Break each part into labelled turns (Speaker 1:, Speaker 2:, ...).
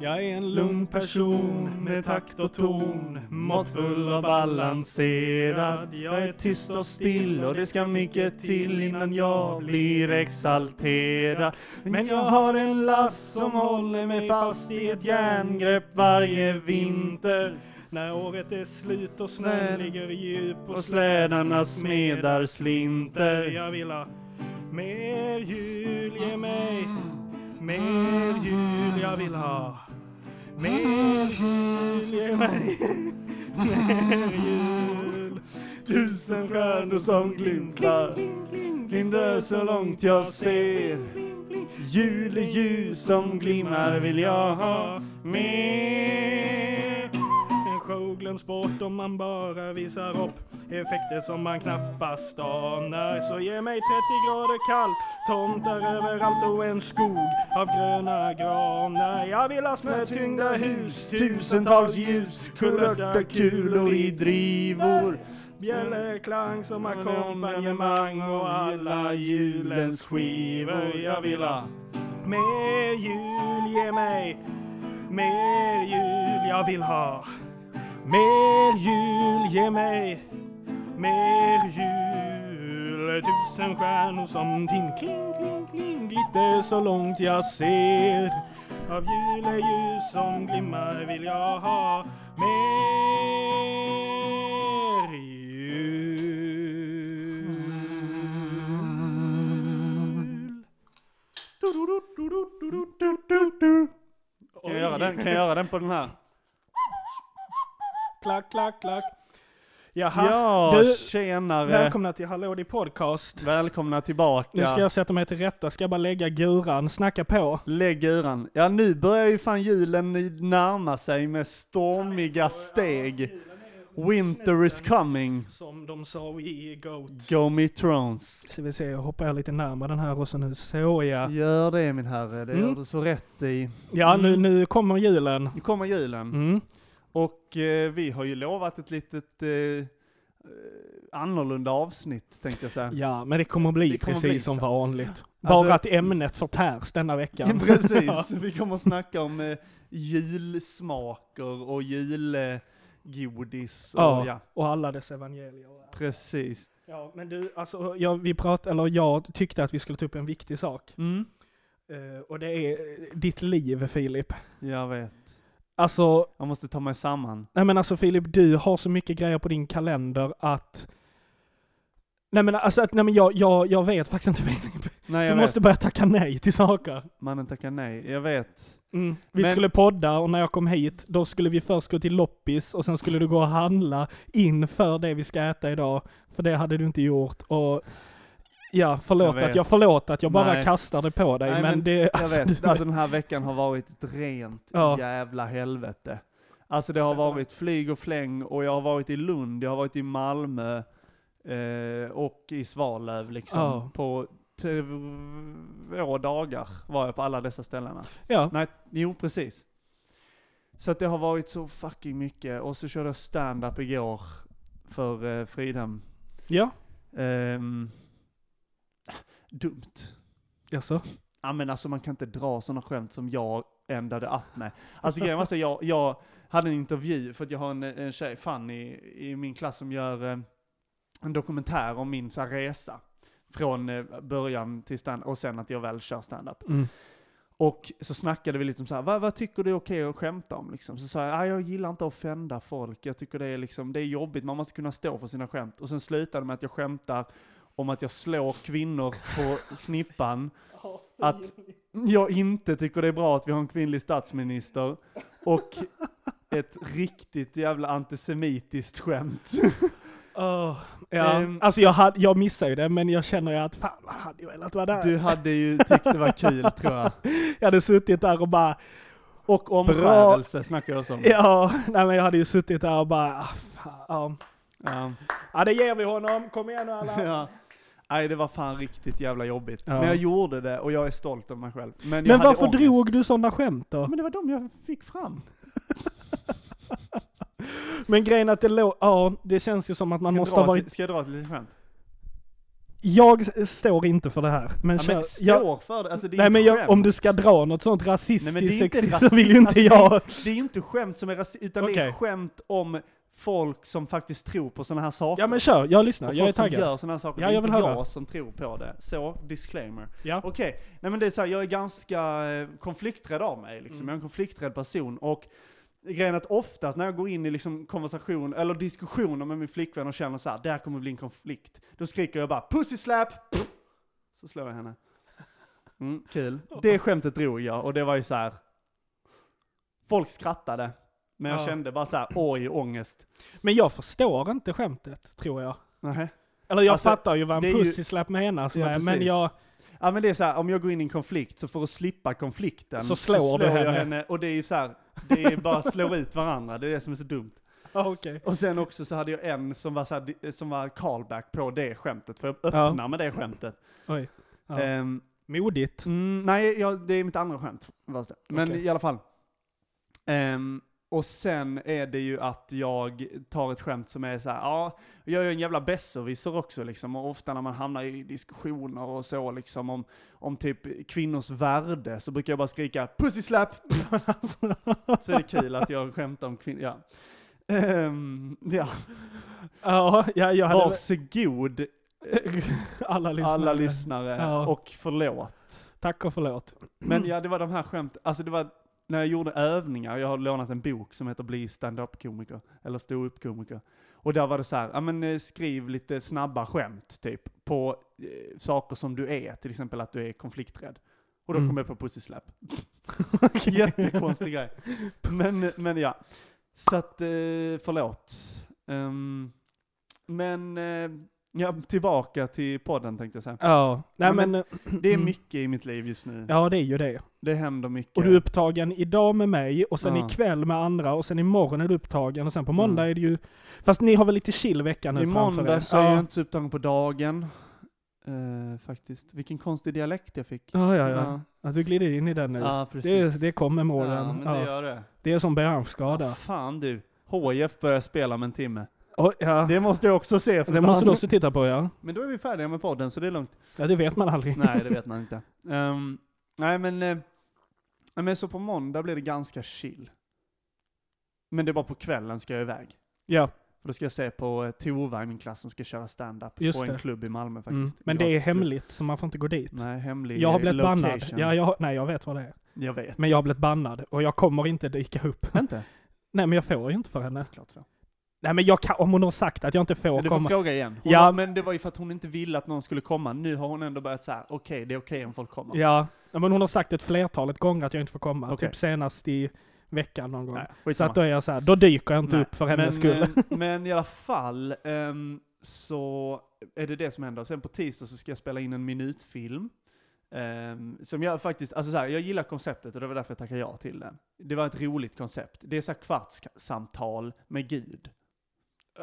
Speaker 1: Jag är en lugn person med takt och ton, måttfull och balanserad. Jag är tyst och still och det ska mycket till innan jag blir exalterad. Men jag har en last som håller mig fast i ett järngrepp varje vinter.
Speaker 2: När året är slut och
Speaker 1: Snö.
Speaker 2: snön ligger djup
Speaker 1: Och
Speaker 2: och
Speaker 1: slädarna smedar slinter.
Speaker 2: Jag vill ha mer jul, ge mig mer jul jag vill ha. Mer jul, ge mig mer jul.
Speaker 1: Tusen stjärnor som glimtar. Glimtar så långt jag ser. Jul är ljus som glimmar vill jag ha mer.
Speaker 2: En show glöms bort om man bara visar upp effekter som man knappast anar. Så ge mig 30 grader kallt, tomtar överallt och en skog av gröna granar. Jag vill ha snötyngda hus,
Speaker 1: Tusentals ljus, kulörta kulor i drivor.
Speaker 2: bjällerklang som ackompanjemang och alla julens skivor. Jag vill ha Mer jul, ge mig mer jul jag vill ha. Mer jul, ge mig mer jul. Tusen stjärnor som din kling, kling, kling glitter så långt jag ser. Av juleljus som glimmar vill jag ha mer jul.
Speaker 1: Kan jag göra den, kan jag göra den på den här?
Speaker 2: Klack, klack, klack. Jaha,
Speaker 1: Ja,
Speaker 2: du,
Speaker 1: tjenare.
Speaker 2: välkomna till Hallå din podcast.
Speaker 1: Välkomna
Speaker 2: Nu ska
Speaker 1: tillbaka.
Speaker 2: jag sätta mig till rätta, ska jag bara lägga guran, snacka på.
Speaker 1: Lägg uran. Ja, nu börjar ju fan julen närma sig med stormiga steg. Winter is coming.
Speaker 2: Som de sa i Goat.
Speaker 1: Go me Thrones.
Speaker 2: Ska vi se, jag hoppar jag lite närmare den här och så nu så jag.
Speaker 1: Gör det min herre, det gör
Speaker 2: Mm.
Speaker 1: du så rätt i.
Speaker 2: Ja, nu, nu kommer julen.
Speaker 1: Nu kommer julen
Speaker 2: Mm.
Speaker 1: och eh, vi har ju lovat ett litet eh, eh, annorlunda avsnitt tänkte jag säga.
Speaker 2: Ja, men det kommer bli
Speaker 1: Det kommer
Speaker 2: precis
Speaker 1: bli så.
Speaker 2: som vanligt. Bara att ämnet förtärs denna veckan.
Speaker 1: Precis, vi kommer att snacka om eh, julsmaker och julgodis och ja.
Speaker 2: Ja. Och alla dess evangelier.
Speaker 1: precis.
Speaker 2: Ja, men du, alltså, jag, vi prat, eller jag tyckte att vi skulle ta upp en viktig sak.
Speaker 1: Mm.
Speaker 2: Eh, och det är eh, ditt liv, Filip.
Speaker 1: Jag vet.
Speaker 2: Alltså,
Speaker 1: Jag måste ta mig samman.
Speaker 2: nej men alltså Filip, du har så mycket grejer på din kalender att... Nej men alltså, att, nej men jag, jag, jag vet faktiskt inte Filip.
Speaker 1: Nej,
Speaker 2: Du
Speaker 1: jag
Speaker 2: måste
Speaker 1: vet.
Speaker 2: börja tacka nej till saker.
Speaker 1: Mannen tackar nej. Jag vet.
Speaker 2: Mm. Vi
Speaker 1: Men-
Speaker 2: skulle podda och när jag kom hit, då skulle vi först gå till loppis och sen skulle du gå och handla inför det vi ska äta idag. För det hade du inte gjort och... Ja, förlåt
Speaker 1: Jag vet.
Speaker 2: att jag, förlåt att jag bara
Speaker 1: Nej.
Speaker 2: kastar det på dig,
Speaker 1: Nej,
Speaker 2: men,
Speaker 1: men
Speaker 2: det...
Speaker 1: Jag
Speaker 2: alltså,
Speaker 1: vet,
Speaker 2: du-
Speaker 1: alltså den här veckan har varit ett rent
Speaker 2: Ja.
Speaker 1: jävla helvete. Alltså det har
Speaker 2: Sätter
Speaker 1: varit flyg och fläng och jag har varit i Lund, jag har varit i Malmö eh, och i Svalöv liksom.
Speaker 2: Ja.
Speaker 1: På två dagar var jag på alla dessa ställena.
Speaker 2: Ja.
Speaker 1: Nej, jo precis. Så att det har varit så fucking mycket och så körde jag stand-up igår för eh, Fridhem.
Speaker 2: Ja.
Speaker 1: Ehm, dumt.
Speaker 2: Jaså?
Speaker 1: Ja men alltså man kan inte dra sådana skämt som jag ändade upp med. Alltså grejen var så här, jag, jag hade en intervju för att jag har en, en tjej, Fanny, i min klass som gör eh, en dokumentär om min så här, resa. Från eh, början till stand och sen att jag väl kör stand-up.
Speaker 2: Mm.
Speaker 1: Och så snackade vi liksom så här, vad, vad tycker du är okej att skämta om liksom? Så sa jag, "Ah, jag gillar inte att offenda folk, jag tycker det är liksom, det är jobbigt, man måste kunna stå för sina skämt. Och sen slutade det med att jag skämtar om att jag slår kvinnor på snippan att jag inte tycker det är bra att vi har en kvinnlig statsminister och ett riktigt jävla antisemitiskt skämt.
Speaker 2: Åh, ja.
Speaker 1: Ehm,
Speaker 2: alltså jag, hade, jag missade ju det, men jag känner ju att fan vad hade jag velat vara där?
Speaker 1: Du hade ju tyckt det var kul tror jag.
Speaker 2: Jag hade suttit där och bara,
Speaker 1: Och omskärelse snackar jag om.
Speaker 2: ja, nej men jag hade ju suttit där och bara, ah, fan, ja.
Speaker 1: Ja.
Speaker 2: ja det ger vi honom, kom igen nu alla.
Speaker 1: Ja. Nej det var fan riktigt jävla jobbigt.
Speaker 2: Ja.
Speaker 1: Men jag gjorde det och jag är stolt över mig själv. Men, jag
Speaker 2: Men
Speaker 1: hade
Speaker 2: varför
Speaker 1: ångest. Mm.
Speaker 2: drog du sådana skämt då?
Speaker 1: Men det var de jag fick fram.
Speaker 2: Men grejen att det lå, ja det känns ju som att man
Speaker 1: Ska jag
Speaker 2: måste
Speaker 1: dra
Speaker 2: ha varit,
Speaker 1: ett- Ska jag dra ett litet skämt?
Speaker 2: Jag s- står inte för det här, men,
Speaker 1: Ja,
Speaker 2: kör,
Speaker 1: men
Speaker 2: jag,
Speaker 1: står för det. Alltså, det är
Speaker 2: Nej
Speaker 1: inte
Speaker 2: men jag,
Speaker 1: skämt.
Speaker 2: om du ska dra något sånt
Speaker 1: Nej, men det är
Speaker 2: rasistiskt,
Speaker 1: inte
Speaker 2: sexistiskt så
Speaker 1: rasism-
Speaker 2: vill ju inte
Speaker 1: alltså,
Speaker 2: jag...
Speaker 1: Det är ju inte skämt som är rasism, utan det är
Speaker 2: Okej.
Speaker 1: skämt om folk som faktiskt tror på sådana här saker.
Speaker 2: Ja men kör, jag lyssnar,
Speaker 1: och
Speaker 2: jag är
Speaker 1: folk som
Speaker 2: taggad.
Speaker 1: gör sådana här saker.
Speaker 2: Ja,
Speaker 1: det är
Speaker 2: jag vill
Speaker 1: inte
Speaker 2: höra.
Speaker 1: jag som tror på det. Så, disclaimer.
Speaker 2: Ja.
Speaker 1: Okej, nej men det är så här, jag är ganska eh, konflikträdd av mig liksom. Jag är en konflikträdd person och grejen är att oftast när jag går in i liksom konversation eller diskussioner med min flickvän och känner så här, det här kommer bli en konflikt. Då skriker jag bara pussy slap! Pff! Så slår jag henne. Mm, kul. Det skämtet drog jag och det var ju så här. Folk skrattade. Men jag
Speaker 2: Ja.
Speaker 1: kände bara så här, oj ångest.
Speaker 2: Men jag förstår inte skämtet, tror jag.
Speaker 1: Nej.
Speaker 2: Eller jag
Speaker 1: Alltså,
Speaker 2: fattar ju vad
Speaker 1: det är
Speaker 2: en
Speaker 1: ju-
Speaker 2: pussyslapp menas
Speaker 1: Ja,
Speaker 2: med,
Speaker 1: precis.
Speaker 2: men jag...
Speaker 1: Ja men det är så här, om jag går in i en konflikt så för att slippa konflikten
Speaker 2: Så slår du
Speaker 1: jag
Speaker 2: henne.
Speaker 1: och det är ju så här, det är bara att slå ut varandra, det är det som är så dumt.
Speaker 2: Ja, okej.
Speaker 1: Och sen också så hade jag en som var, så här, som var callback på det skämtet, för jag öppnar med det skämtet.
Speaker 2: Oj. Ja.
Speaker 1: Ehm,
Speaker 2: Modigt.
Speaker 1: Mm, nej, jag, det är mitt andra skämt. fast det. Men
Speaker 2: Okej.
Speaker 1: i alla fall. Ehm, och sen är det ju att jag tar ett skämt som är så här, ja, jag är ju en jävla besserwisser också liksom. Och ofta när man hamnar i diskussioner och så liksom om, om typ kvinnors värde så brukar jag bara skrika pussy slap! så är det kul att jag skämtar om kvinnor, ja. Ehm, ja.
Speaker 2: Ja, ja, jag hade...
Speaker 1: Varsågod
Speaker 2: Alla lyssnare.
Speaker 1: alla lyssnare
Speaker 2: Ja.
Speaker 1: och förlåt.
Speaker 2: Tack och förlåt.
Speaker 1: Men ja, det var de här skämt, alltså det var när jag gjorde övningar, jag har lånat en bok som heter Bli stand-up-komiker, eller stå-upp-komiker. Och där var det så här, ja men eh, skriv lite snabba skämt typ, på eh, saker som du är, till exempel att du är konflikträdd. Och då
Speaker 2: Mm.
Speaker 1: kom jag på pussyslapp. Jättekonstig grej. Men, men ja. Så att, eh, förlåt. Ehm, men, eh, ja, tillbaka till podden tänkte jag säga.
Speaker 2: Ja, nej
Speaker 1: Ja, men-
Speaker 2: men... eh,
Speaker 1: Det är
Speaker 2: Mm.
Speaker 1: mycket i mitt liv just nu.
Speaker 2: Ja, det är ju det.
Speaker 1: Det händer mycket.
Speaker 2: Och du är upptagen idag med mig och sen
Speaker 1: Ja.
Speaker 2: ikväll med andra och sen imorgon är du upptagen och sen på
Speaker 1: Mm.
Speaker 2: måndag är det ju... Fast ni har väl lite chill vecka nu
Speaker 1: I
Speaker 2: framför er?
Speaker 1: måndag så är
Speaker 2: ja.
Speaker 1: jag inte så upptagen på dagen. Eh, faktiskt. Vilken konstig dialekt jag fick.
Speaker 2: Ja, ja, ja. ja. Du glider in i den nu.
Speaker 1: Ja, precis.
Speaker 2: det, det kommer med åren.
Speaker 1: ja, men det
Speaker 2: Ja.
Speaker 1: gör det.
Speaker 2: Det är som
Speaker 1: Ja,
Speaker 2: branschskada.
Speaker 1: fan du. HIF börjar spela om en timme.
Speaker 2: Oj, ja.
Speaker 1: Det måste jag också se. För
Speaker 2: Det måste
Speaker 1: fan.
Speaker 2: du också titta på ja.
Speaker 1: Men då är vi färdiga med podden, så det är lugnt.
Speaker 2: Ja det vet man aldrig.
Speaker 1: Nej, det vet man inte. Ehm, nej, men, eh, nej, men så på måndag blir det ganska chill. Men det är bara på kvällen ska jag iväg.
Speaker 2: Ja,
Speaker 1: För då ska jag se på eh, Tova i min klass som ska köra stand-up
Speaker 2: Just
Speaker 1: på en
Speaker 2: det.
Speaker 1: klubb i Malmö
Speaker 2: mm.
Speaker 1: faktiskt.
Speaker 2: men det är
Speaker 1: Gratisklubb.
Speaker 2: hemligt så man får inte gå dit.
Speaker 1: Nej, hemlig
Speaker 2: Jag har
Speaker 1: eh,
Speaker 2: blivit bannad.
Speaker 1: location.
Speaker 2: Ja, jag, har- nej jag vet vad det är.
Speaker 1: Jag vet.
Speaker 2: Men jag har blivit bannad och jag kommer inte dyka upp.
Speaker 1: Inte?
Speaker 2: nej men jag får ju inte för henne.
Speaker 1: Klart så.
Speaker 2: Nej men jag kan, om hon har sagt att jag inte får
Speaker 1: Men du får
Speaker 2: komma.
Speaker 1: fråga igen. Hon, ja.
Speaker 2: Ja.
Speaker 1: Men det var ju för att hon inte ville att någon skulle komma. Nu har hon ändå börjat så här. okej, det är okej om folk kommer.
Speaker 2: Ja. ja, men hon har sagt ett flertalet gånger att jag inte får komma.
Speaker 1: Okej.
Speaker 2: Typ senast i veckan någon gång.
Speaker 1: Nej,
Speaker 2: så
Speaker 1: skitsamma.
Speaker 2: att då är jag så här, då dyker jag inte
Speaker 1: Nej,
Speaker 2: upp för hennes skull.
Speaker 1: men, eh, men i alla fall ehm, så är det det som händer. Sen på tisdag så ska jag spela in en minutfilm. ehm, som jag faktiskt, alltså så här, jag gillar konceptet och det var därför jag tackade ja till den. Det var ett roligt koncept. Det är så här kvartssamtal med Gud.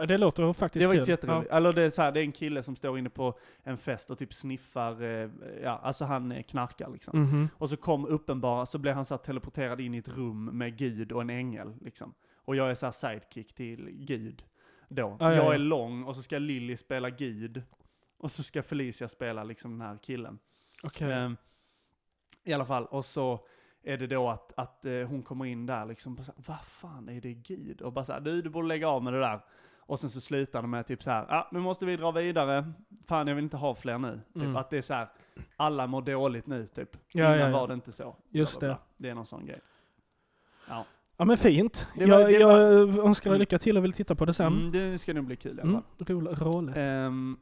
Speaker 2: det låter faktiskt
Speaker 1: Det var
Speaker 2: kul.
Speaker 1: inte jätteroligt. Eller det är, så här, det är en kille som står inne på en fest och typ sniffar, eh, ja, alltså han eh, knarkar liksom.
Speaker 2: Ja. Mhm.
Speaker 1: Och så kom uppenbara, så blev han så här teleporterad in i ett rum med Gud och en ängel liksom. Och jag är så här sidekick till Gud då.
Speaker 2: ja,
Speaker 1: jag
Speaker 2: ja.
Speaker 1: är lång och så ska Lilly spela Gud. Och så ska Felicia spela liksom den här killen.
Speaker 2: Okej.
Speaker 1: Ehm, I alla fall, och så är det då att, att eh, hon kommer in där liksom, och så här, vad fan är det Gud? Och bara såhär, du, du borde lägga av med det där. Och sen så slutar de med typ så här, ah, nu måste vi dra vidare, fan jag vill inte ha fler nu.
Speaker 2: Mm.
Speaker 1: Typ, att det är så här, alla mår dåligt nu typ.
Speaker 2: Ja,
Speaker 1: Innan
Speaker 2: ja, ja.
Speaker 1: var det inte så.
Speaker 2: Just
Speaker 1: Bla, bla,
Speaker 2: det.
Speaker 1: bla. Det är någon sån grej. Ja.
Speaker 2: Ja men fint.
Speaker 1: Det var-
Speaker 2: jag
Speaker 1: det var-
Speaker 2: jag önskar dig
Speaker 1: Mm.
Speaker 2: lycka till och vill titta på det sen. Mm.
Speaker 1: Mm, det ska nog bli kul i alla fall.
Speaker 2: Rolig, roligt.
Speaker 1: Ehm,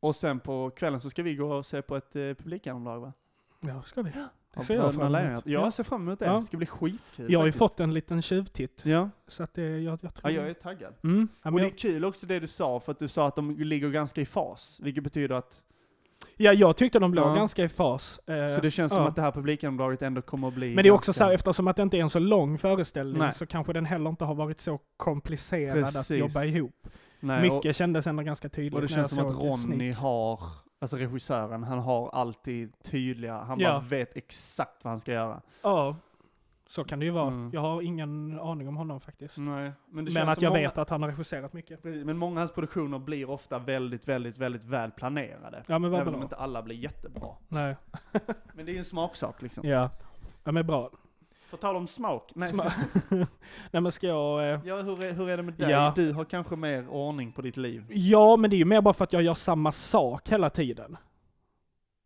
Speaker 1: och sen på kvällen så ska vi gå och se på ett eh, publikgenomlag va?
Speaker 2: Ja, ska vi.
Speaker 1: Av
Speaker 2: Det ser jag
Speaker 1: Bröderna
Speaker 2: fram
Speaker 1: Lejonhjärta.
Speaker 2: emot.
Speaker 1: Ja,
Speaker 2: Ja.
Speaker 1: jag ser fram emot det.
Speaker 2: Ja.
Speaker 1: Det ska bli skitkul
Speaker 2: Jag har ju
Speaker 1: faktiskt.
Speaker 2: fått en liten tjuvtitt.
Speaker 1: Ja.
Speaker 2: Så att det, jag, jag
Speaker 1: ja,
Speaker 2: tror...
Speaker 1: jag är taggad.
Speaker 2: Mm. Ja,
Speaker 1: Och
Speaker 2: men
Speaker 1: det är
Speaker 2: jag,
Speaker 1: kul också det du sa, för att du sa att de ligger ganska i fas, vilket betyder att...
Speaker 2: ja, jag tyckte de låg
Speaker 1: Ja.
Speaker 2: ganska i fas. eh,
Speaker 1: Så det känns
Speaker 2: ja.
Speaker 1: som att det här publikgenomdraget ändå kommer att bli...
Speaker 2: men det är också
Speaker 1: ganska-
Speaker 2: så här, eftersom att det inte är en så lång föreställning
Speaker 1: Nej.
Speaker 2: så kanske den heller inte har varit så komplicerad
Speaker 1: Precis.
Speaker 2: att jobba ihop.
Speaker 1: Nej,
Speaker 2: Mycket kändes ändå ganska tydligt
Speaker 1: Och, och det
Speaker 2: när
Speaker 1: känns som
Speaker 2: jag
Speaker 1: att
Speaker 2: såg
Speaker 1: Ronny
Speaker 2: snitt.
Speaker 1: har, alltså regissören, han har alltid tydliga, han
Speaker 2: Ja.
Speaker 1: bara vet exakt vad han ska göra.
Speaker 2: Ja. Så kan det ju vara.
Speaker 1: Mm.
Speaker 2: Jag har ingen aning om honom faktiskt.
Speaker 1: Nej, men det
Speaker 2: Men
Speaker 1: känns
Speaker 2: att
Speaker 1: som
Speaker 2: jag
Speaker 1: många,
Speaker 2: vet att han har regisserat mycket.
Speaker 1: Precis, Men många av hans produktioner blir ofta väldigt, väldigt, väldigt väl planerade.
Speaker 2: Ja men vad
Speaker 1: Även
Speaker 2: bra.
Speaker 1: om inte alla blir jättebra.
Speaker 2: Nej.
Speaker 1: Men det är ju en smaksak liksom.
Speaker 2: Ja. Ja men bra.
Speaker 1: På tal om smak. Nej,
Speaker 2: Sma- Nej men ska jag... Eh...
Speaker 1: Ja, hur, är, hur är det med dig?
Speaker 2: Ja.
Speaker 1: Du har kanske mer ordning på ditt liv.
Speaker 2: Ja men det är ju mer bara för att jag gör samma sak hela tiden.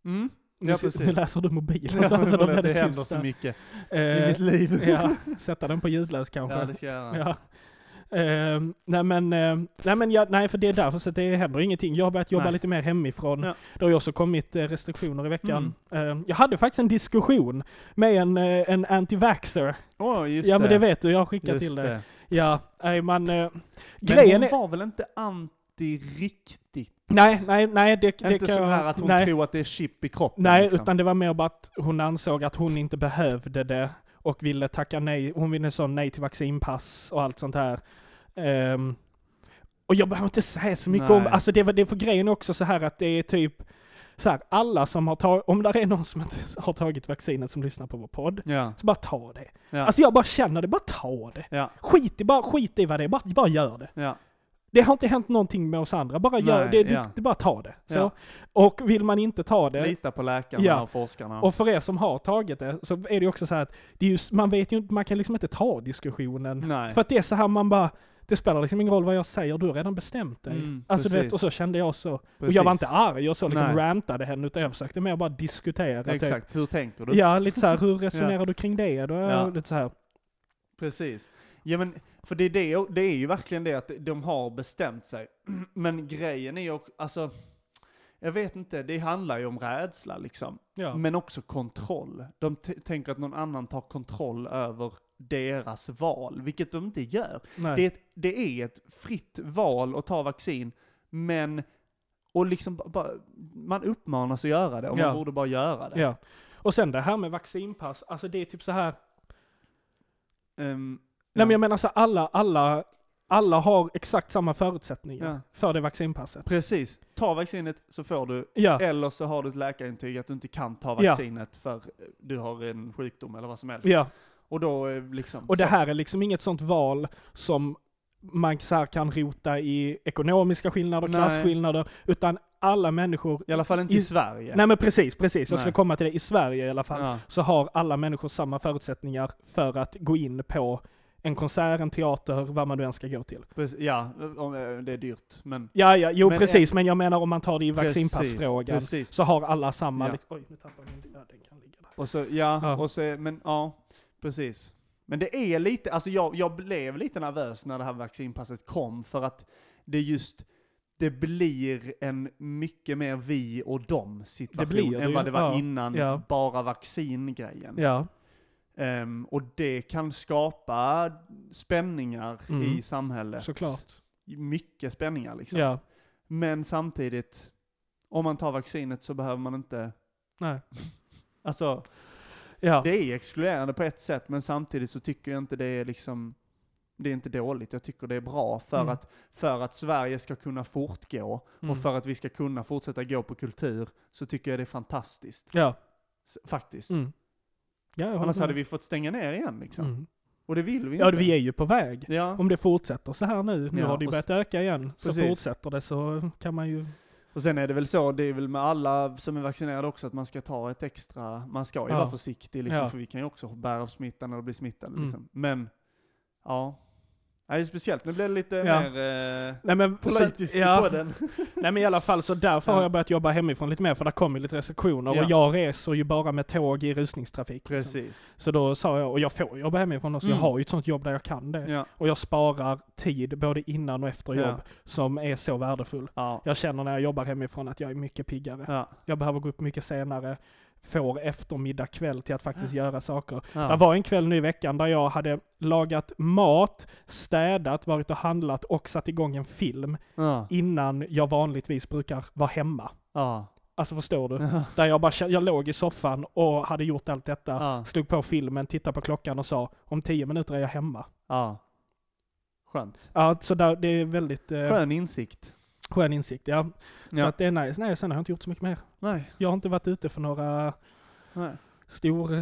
Speaker 1: Mm.
Speaker 2: Nu
Speaker 1: Ja,
Speaker 2: sit-
Speaker 1: precis.
Speaker 2: Nu läser du mobilen
Speaker 1: Ja,
Speaker 2: så, så då
Speaker 1: det
Speaker 2: blir det
Speaker 1: händer
Speaker 2: tyst
Speaker 1: så
Speaker 2: där.
Speaker 1: mycket i
Speaker 2: Eh,
Speaker 1: mitt liv.
Speaker 2: ja, sätta den på ljudlös kanske.
Speaker 1: Ja, det ska jag göra.
Speaker 2: Ja. Ehm, nej men, eh, nej men jag, nej för det är därför så att det händer ingenting. Jag har börjat jobba
Speaker 1: Nej.
Speaker 2: lite mer hemifrån.
Speaker 1: Ja. Mm.
Speaker 2: Det har ju också kommit eh, restriktioner i veckan. Ehm, jag hade faktiskt en diskussion med en, eh, en anti-vaxxer.
Speaker 1: Åh, just
Speaker 2: Ja men det
Speaker 1: det
Speaker 2: vet du, jag har skickat
Speaker 1: Just
Speaker 2: till dig.
Speaker 1: det.
Speaker 2: Ja, nej man... Eh,
Speaker 1: Men
Speaker 2: grejen är...
Speaker 1: hon var väl inte anti riktigt?
Speaker 2: Nej, nej, nej det, det
Speaker 1: inte
Speaker 2: kan
Speaker 1: så
Speaker 2: jag-
Speaker 1: här att hon
Speaker 2: nej,
Speaker 1: tror att det är chip i kroppen?
Speaker 2: Nej,
Speaker 1: liksom.
Speaker 2: utan det var mer bara att hon ansåg att hon inte behövde det och ville tacka nej. Hon ville säga nej till vaccinpass och allt sånt här. Ehm, och jag behöver inte säga så mycket
Speaker 1: Nej.
Speaker 2: om, alltså det var det för grejen är också så här att det är typ så här, alla som har tagit, om det är någon som inte har tagit vaccinet som lyssnar på vår podd,
Speaker 1: Ja,
Speaker 2: så bara ta det.
Speaker 1: Ja.
Speaker 2: Alltså jag bara känner det, bara ta det.
Speaker 1: ja,
Speaker 2: Skit i, bara, skit i vad det är, bara, bara gör det.
Speaker 1: ja.
Speaker 2: Det har inte hänt någonting med oss andra, bara gör
Speaker 1: Nej,
Speaker 2: det, du,
Speaker 1: ja.
Speaker 2: du bara ta det. Så.
Speaker 1: Ja.
Speaker 2: Och vill man inte ta det,
Speaker 1: Lita på läkarna
Speaker 2: Ja.
Speaker 1: och forskarna.
Speaker 2: och för er som har tagit det så är det ju också så här att det är just, man vet ju inte, man kan liksom inte ta diskussionen.
Speaker 1: Nej.
Speaker 2: För att det är så här man bara, det spelar liksom ingen roll vad jag säger, du har redan bestämt dig.
Speaker 1: Mm,
Speaker 2: alltså du vet,
Speaker 1: precis.
Speaker 2: och så kände jag så. Och
Speaker 1: Precis.
Speaker 2: jag var inte arg och så liksom
Speaker 1: Nej.
Speaker 2: rantade henne, utan jag försökte mer bara diskutera. typ.
Speaker 1: Exakt, hur tänker du?
Speaker 2: Ja, lite så här, hur resonerar du kring det? Då är jag
Speaker 1: Ja.
Speaker 2: lite så här.
Speaker 1: Precis. Ja men, för det är, det, det är ju verkligen det att de har bestämt sig. Men grejen är ju, också- alltså, jag vet inte, det handlar ju om rädsla liksom.
Speaker 2: Ja.
Speaker 1: Men också kontroll. De t- tänker att någon annan tar kontroll över deras val, vilket de inte gör.
Speaker 2: Nej.
Speaker 1: Det är, ett, det är ett fritt val att ta vaccin, men och liksom ba- bara, man uppmanas att göra det och
Speaker 2: Ja.
Speaker 1: man borde bara göra det.
Speaker 2: ja. Och sen det här med vaccinpass, alltså det är typ så här.
Speaker 1: Ehm,
Speaker 2: Nej men
Speaker 1: ja.
Speaker 2: jag menar så här, alla, alla, alla har exakt samma förutsättningar
Speaker 1: Ja.
Speaker 2: för det vaccinpasset.
Speaker 1: Precis, ta vaccinet så får du
Speaker 2: Ja.
Speaker 1: Eller så har du ett läkarintyg att du inte kan ta
Speaker 2: Ja.
Speaker 1: vaccinet för eh, du har en sjukdom eller vad som helst.
Speaker 2: Ja.
Speaker 1: Och då eh, liksom...
Speaker 2: Och det
Speaker 1: så.
Speaker 2: här är liksom inget sånt val som man så här kan rota i ekonomiska skillnader,
Speaker 1: Nej.
Speaker 2: klasskillnader, utan alla människor...
Speaker 1: I alla fall inte i,
Speaker 2: i-
Speaker 1: Sverige.
Speaker 2: Nej men precis, precis. Jag
Speaker 1: Nej.
Speaker 2: skulle komma till det. I Sverige i alla fall
Speaker 1: ja.
Speaker 2: så har alla människor samma förutsättningar för att gå in på en konsert, en teater, vad man nu än ska gå till.
Speaker 1: Precis, ja, om, eh, det är dyrt men...
Speaker 2: Ja, ja, jo
Speaker 1: Men-
Speaker 2: precis, men jag menar om man tar det i
Speaker 1: Precis,
Speaker 2: vaccinpassfrågan
Speaker 1: precis.
Speaker 2: så har alla samma...
Speaker 1: Ja.
Speaker 2: Oj, nu tappade jag min... Ja, den kan ligga där.
Speaker 1: Och så, ja,
Speaker 2: Ja.
Speaker 1: och så, men ja, precis. Men det är lite, alltså jag, jag blev lite nervös när det här vaccinpasset kom för att det just, det blir en mycket mer vi och dem
Speaker 2: Det blir
Speaker 1: situation
Speaker 2: det
Speaker 1: än
Speaker 2: ju,
Speaker 1: vad det var
Speaker 2: ja,
Speaker 1: innan
Speaker 2: ja.
Speaker 1: bara vaccingrejen.
Speaker 2: Ja,
Speaker 1: Ehm, och det kan skapa spänningar
Speaker 2: Mm.
Speaker 1: i samhället.
Speaker 2: såklart.
Speaker 1: Mycket spänningar liksom.
Speaker 2: Ja,
Speaker 1: Men samtidigt, om man tar vaccinet så behöver man inte...
Speaker 2: nej.
Speaker 1: Alltså,
Speaker 2: Ja.
Speaker 1: det är exkluderande på ett sätt, men samtidigt så tycker jag inte det är liksom... Det är inte dåligt, jag tycker det är bra för,
Speaker 2: Mm.
Speaker 1: att, för att Sverige ska kunna fortgå
Speaker 2: mm.
Speaker 1: och för att vi ska kunna fortsätta gå på kultur så tycker jag det är fantastiskt.
Speaker 2: Ja.
Speaker 1: S- Faktiskt.
Speaker 2: Mm. Ja, jag håller
Speaker 1: Annars
Speaker 2: med.
Speaker 1: hade vi fått stänga ner igen liksom.
Speaker 2: Mm.
Speaker 1: Och det vill vi inte.
Speaker 2: Ja, vi är ju på väg.
Speaker 1: Ja.
Speaker 2: Om det fortsätter så här nu, nu
Speaker 1: Ja,
Speaker 2: har det ju
Speaker 1: och
Speaker 2: börjat öka igen, så
Speaker 1: precis.
Speaker 2: fortsätter det så kan man ju...
Speaker 1: Och sen är det väl så, det är väl med alla som är vaccinerade också, att man ska ta ett extra, man ska ju
Speaker 2: Ja.
Speaker 1: vara försiktig liksom,
Speaker 2: Ja.
Speaker 1: för vi kan ju också bära upp smittan eller bli smittade
Speaker 2: Mm.
Speaker 1: liksom. Men, ja. Nej, det är speciellt, nu blir det lite
Speaker 2: Ja.
Speaker 1: mer eh,
Speaker 2: Nej men,
Speaker 1: politiskt i
Speaker 2: ja,
Speaker 1: podden.
Speaker 2: nej men i alla fall så därför
Speaker 1: Ja.
Speaker 2: har jag börjat jobba hemifrån lite mer för där kommer lite restriktioner
Speaker 1: Ja.
Speaker 2: och jag reser ju bara med tåg i rusningstrafik. liksom.
Speaker 1: Precis.
Speaker 2: Så då sa jag, och jag får jobba hemifrån också,
Speaker 1: Mm.
Speaker 2: jag har ju ett sånt jobb där jag kan det.
Speaker 1: Ja.
Speaker 2: Och jag sparar tid både innan och efter
Speaker 1: Ja.
Speaker 2: jobb som är så värdefull.
Speaker 1: Ja.
Speaker 2: Jag känner när jag jobbar hemifrån att jag är mycket piggare.
Speaker 1: Ja.
Speaker 2: Jag behöver gå upp mycket senare, får eftermiddag, kväll till att faktiskt göra saker.
Speaker 1: Ja.
Speaker 2: Det var en kväll nu i veckan där jag hade lagat mat, städat, varit och handlat och satt igång en film
Speaker 1: Ja.
Speaker 2: innan jag vanligtvis brukar vara hemma.
Speaker 1: Ja.
Speaker 2: Alltså förstår du?
Speaker 1: Ja.
Speaker 2: Där jag bara kände- jag låg i soffan och hade gjort allt detta,
Speaker 1: Ja.
Speaker 2: slog på filmen, tittade på klockan och sa om tio minuter är jag hemma.
Speaker 1: ja. Skönt.
Speaker 2: Ja, så där, det är väldigt eh,
Speaker 1: Skön insikt.
Speaker 2: skön insikt. Ja. Så
Speaker 1: Ja.
Speaker 2: att det är nice. Nej, sen har jag inte gjort så mycket mer.
Speaker 1: Nej.
Speaker 2: Jag har inte varit ute för några
Speaker 1: Nej.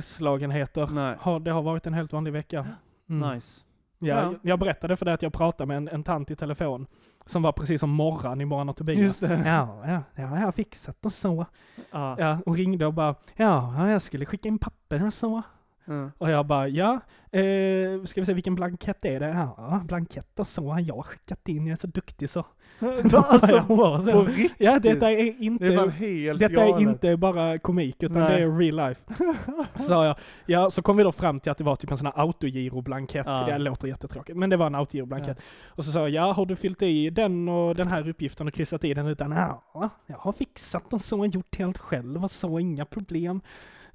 Speaker 2: storslagenheter.
Speaker 1: Nej.
Speaker 2: Har, det har varit en helt vanlig vecka. Mm.
Speaker 1: Nice.
Speaker 2: Ja,
Speaker 1: Ja.
Speaker 2: jag- Jag berättade för dig att jag pratade med en, en tant i telefon som var precis som Morran i Morran och Tobias.
Speaker 1: Just det.
Speaker 2: Ja, ja, ja, jag har fixat och så.
Speaker 1: Ja.
Speaker 2: Ja, och ringde och bara, ja, ja, jag skulle skicka in papper och så.
Speaker 1: Mm.
Speaker 2: Och jag bara, ja, eh, ska vi se vilken blankett är det? Ja, blankett och så har jag skickat in, jag är så duktig så.
Speaker 1: alltså,
Speaker 2: Hon var
Speaker 1: på
Speaker 2: så.
Speaker 1: riktigt.
Speaker 2: Ja, detta är
Speaker 1: Det är fan
Speaker 2: inte,
Speaker 1: helt
Speaker 2: detta är
Speaker 1: galet.
Speaker 2: inte bara komik, utan
Speaker 1: Nej.
Speaker 2: det är real life. Så sa jag, ja, så kom vi då fram till att det var typ en sån här autogiroblankett.
Speaker 1: Ja.
Speaker 2: Det låter jättetråkigt, men det var en autogiroblankett. Och så sa jag, ja, har du fyllt i den och den här uppgiften och kryssat i den utan, ja, jag har fixat den så, gjort helt själv och så, inga problem.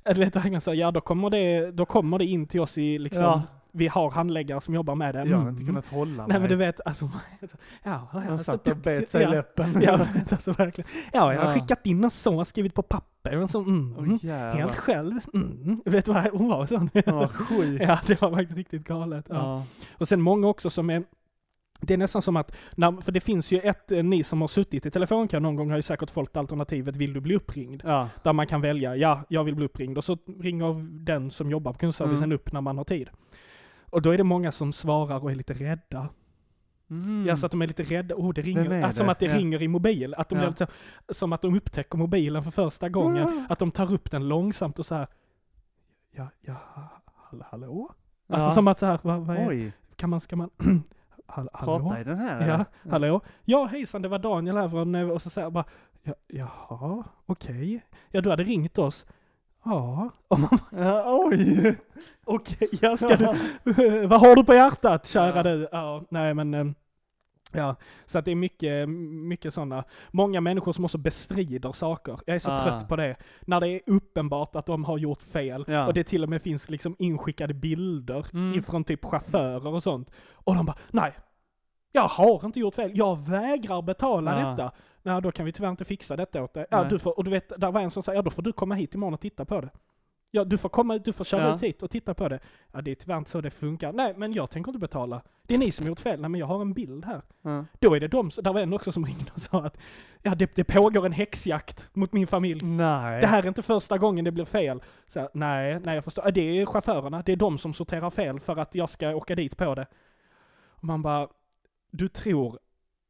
Speaker 2: Äh, Du vet, han sa, ja, då kommer det, då kommer det in till oss i liksom,
Speaker 1: Ja.
Speaker 2: vi har handläggare som jobbar med det.
Speaker 1: Jag hade inte
Speaker 2: Mm.
Speaker 1: kunnat hålla
Speaker 2: Nej men
Speaker 1: mig.
Speaker 2: du vet, alltså, ja, jag är
Speaker 1: Han
Speaker 2: så
Speaker 1: satt och
Speaker 2: duktig.
Speaker 1: bet sig i
Speaker 2: Ja.
Speaker 1: läppen.
Speaker 2: Ja, men alltså verkligen. Ja, jag har
Speaker 1: Ja.
Speaker 2: skickat in och så, skrivit på papper och så. Mm,
Speaker 1: Åh,
Speaker 2: mm.
Speaker 1: jävlar.
Speaker 2: Helt själv. Mm. Vet du vad hon var sån?
Speaker 1: Han var sjuk.
Speaker 2: ja, det var faktiskt riktigt galet. Ja.
Speaker 1: Ja.
Speaker 2: Och sen många också som är det är nästan som att, när, för det finns ju ett, eh, ni som har suttit i telefonkö någon gång har ju säkert fått alternativet vill du bli uppringd?
Speaker 1: Ja.
Speaker 2: Där man kan välja, ja, jag vill bli uppringd. Och så ringer den som jobbar på kundservicen
Speaker 1: Mm.
Speaker 2: upp när man har tid. Och då är det många som svarar och är lite rädda.
Speaker 1: Mm.
Speaker 2: Ja, så att de är lite rädda. Oh, det ringer.
Speaker 1: Vem är
Speaker 2: Ah, som
Speaker 1: det?
Speaker 2: att det
Speaker 1: Ja.
Speaker 2: ringer i mobil. Att de
Speaker 1: Ja.
Speaker 2: blir lite så, som att de upptäcker mobilen för första gången. Att de tar upp den långsamt och så här. Ja, ja, hall- hallå? Alltså
Speaker 1: Ja.
Speaker 2: som att så här, vad, vad är,
Speaker 1: Oj,
Speaker 2: kan man, ska man, hall, hallå?
Speaker 1: prata i den här.
Speaker 2: Ja,
Speaker 1: eller?
Speaker 2: hallå? Ja, hejsan, det var Daniel här från, eh, och så säger jag bara, ja, jaha, okej. Ja, du hade ringt oss. Ja, och man,
Speaker 1: Ja, oj!
Speaker 2: okej, ja, ska du, Vad har du på hjärtat kära
Speaker 1: Ja.
Speaker 2: du? Ja, nej men ehm, Ja, så att det är mycket, mycket sådana. Många människor som också bestrider saker. Jag är så
Speaker 1: Ah.
Speaker 2: trött på det. När det är uppenbart att de har gjort fel
Speaker 1: Ja.
Speaker 2: och det till och med finns liksom inskickade bilder
Speaker 1: Mm.
Speaker 2: ifrån typ chaufförer och sånt. Och de bara, nej, jag har inte gjort fel. Jag vägrar betala
Speaker 1: Ja.
Speaker 2: detta. Nej, då kan vi tyvärr inte fixa detta åt dig. Ja,
Speaker 1: Nej.
Speaker 2: du får, och du vet, där var en som sa, ja då får du komma hit imorgon och titta på det. Ja, du får komma, du får köra
Speaker 1: Ja.
Speaker 2: ut hit och titta på det. Ja, det är tyvärr inte så det funkar. Nej, men jag tänker inte betala. Det är ni som har gjort fel. Nej, men jag har en bild här.
Speaker 1: Ja.
Speaker 2: Då är det de, som- där var en också som ringde och sa att ja, det, det pågår en häxjakt mot min familj.
Speaker 1: Nej.
Speaker 2: Det här är inte första gången det blir fel. Så, här, nej, nej jag förstår. Ja, Det är chaufförerna, det är de som sorterar fel för att jag ska åka dit på det. Och man bara, du tror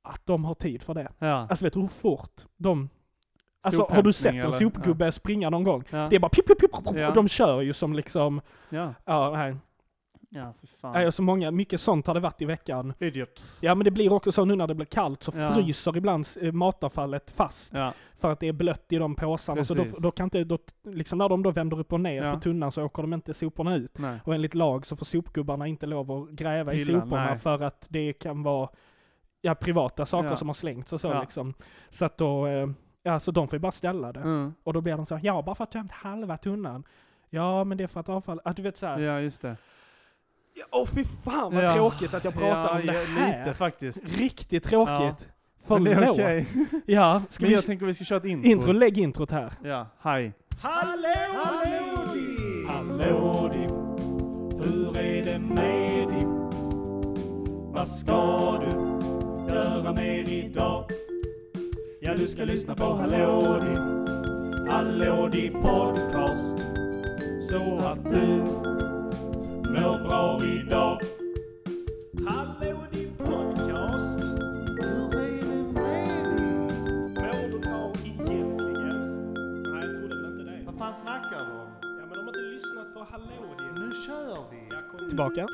Speaker 2: att de har tid för det?
Speaker 1: Ja.
Speaker 2: Alltså vet du hur fort de... Alltså har du sett
Speaker 1: Sophämtning,
Speaker 2: en
Speaker 1: eller?
Speaker 2: sopgubbe springa någon gång?
Speaker 1: Ja.
Speaker 2: Det är bara pip, pip, pip, pip,
Speaker 1: Ja.
Speaker 2: och de kör ju som liksom,
Speaker 1: Ja.
Speaker 2: ja nej.
Speaker 1: Ja, för
Speaker 2: Nej,
Speaker 1: fan.
Speaker 2: och så många, mycket sånt har det varit i veckan.
Speaker 1: Idiot.
Speaker 2: Ja men det blir också så nu när det blir kallt så
Speaker 1: Ja.
Speaker 2: fryser ibland eh, matavfallet fast
Speaker 1: Ja.
Speaker 2: för att det är blött i de påsarna. Så då,
Speaker 1: Precis.
Speaker 2: då kan inte, då, liksom när de då vänder upp och ner
Speaker 1: Ja.
Speaker 2: på tunnan så åker de inte soporna ut.
Speaker 1: Nej.
Speaker 2: Och enligt lag så får sopgubbarna inte lov att gräva i
Speaker 1: Pilla,
Speaker 2: soporna
Speaker 1: nej.
Speaker 2: för att det kan vara ja, privata saker
Speaker 1: Ja.
Speaker 2: som har slängts och så
Speaker 1: Ja.
Speaker 2: liksom. Så att då, eh, ja så de får ju bara ställa det.
Speaker 1: Mm.
Speaker 2: Och då blir de så här, ja bara för att du har tömt halva tunnan. Ja men det är för att avfall, att du vet såhär.
Speaker 1: Ja, just det.
Speaker 2: Ja, Åh fy fan vad
Speaker 1: Ja.
Speaker 2: tråkigt att jag pratar
Speaker 1: ja,
Speaker 2: om det
Speaker 1: ja,
Speaker 2: här.
Speaker 1: lite faktiskt.
Speaker 2: Riktigt tråkigt.
Speaker 1: Men det är
Speaker 2: Förlåt.
Speaker 1: okej.
Speaker 2: Ja, ska
Speaker 1: Men
Speaker 2: vi...
Speaker 1: jag tänker vi ska köra ett intro.
Speaker 2: Intro, lägg introt här.
Speaker 1: Ja, hej.
Speaker 2: Hallå! Hallå Dipp, hur är det med Dipp? Vad ska du göra mer idag? Ja, du ska lyssna på Hallå Dipp, Hallå Dipp podcast. Så att du mår bra idag. Hallå Dipp podcast, mår du bra egentligen? Nej, jag trodde väl inte det.
Speaker 1: Vad fan snackar du om?
Speaker 2: Ja, men de har inte lyssnat på Hallå Dipp.
Speaker 1: Nu kör vi!
Speaker 2: Tillbaka,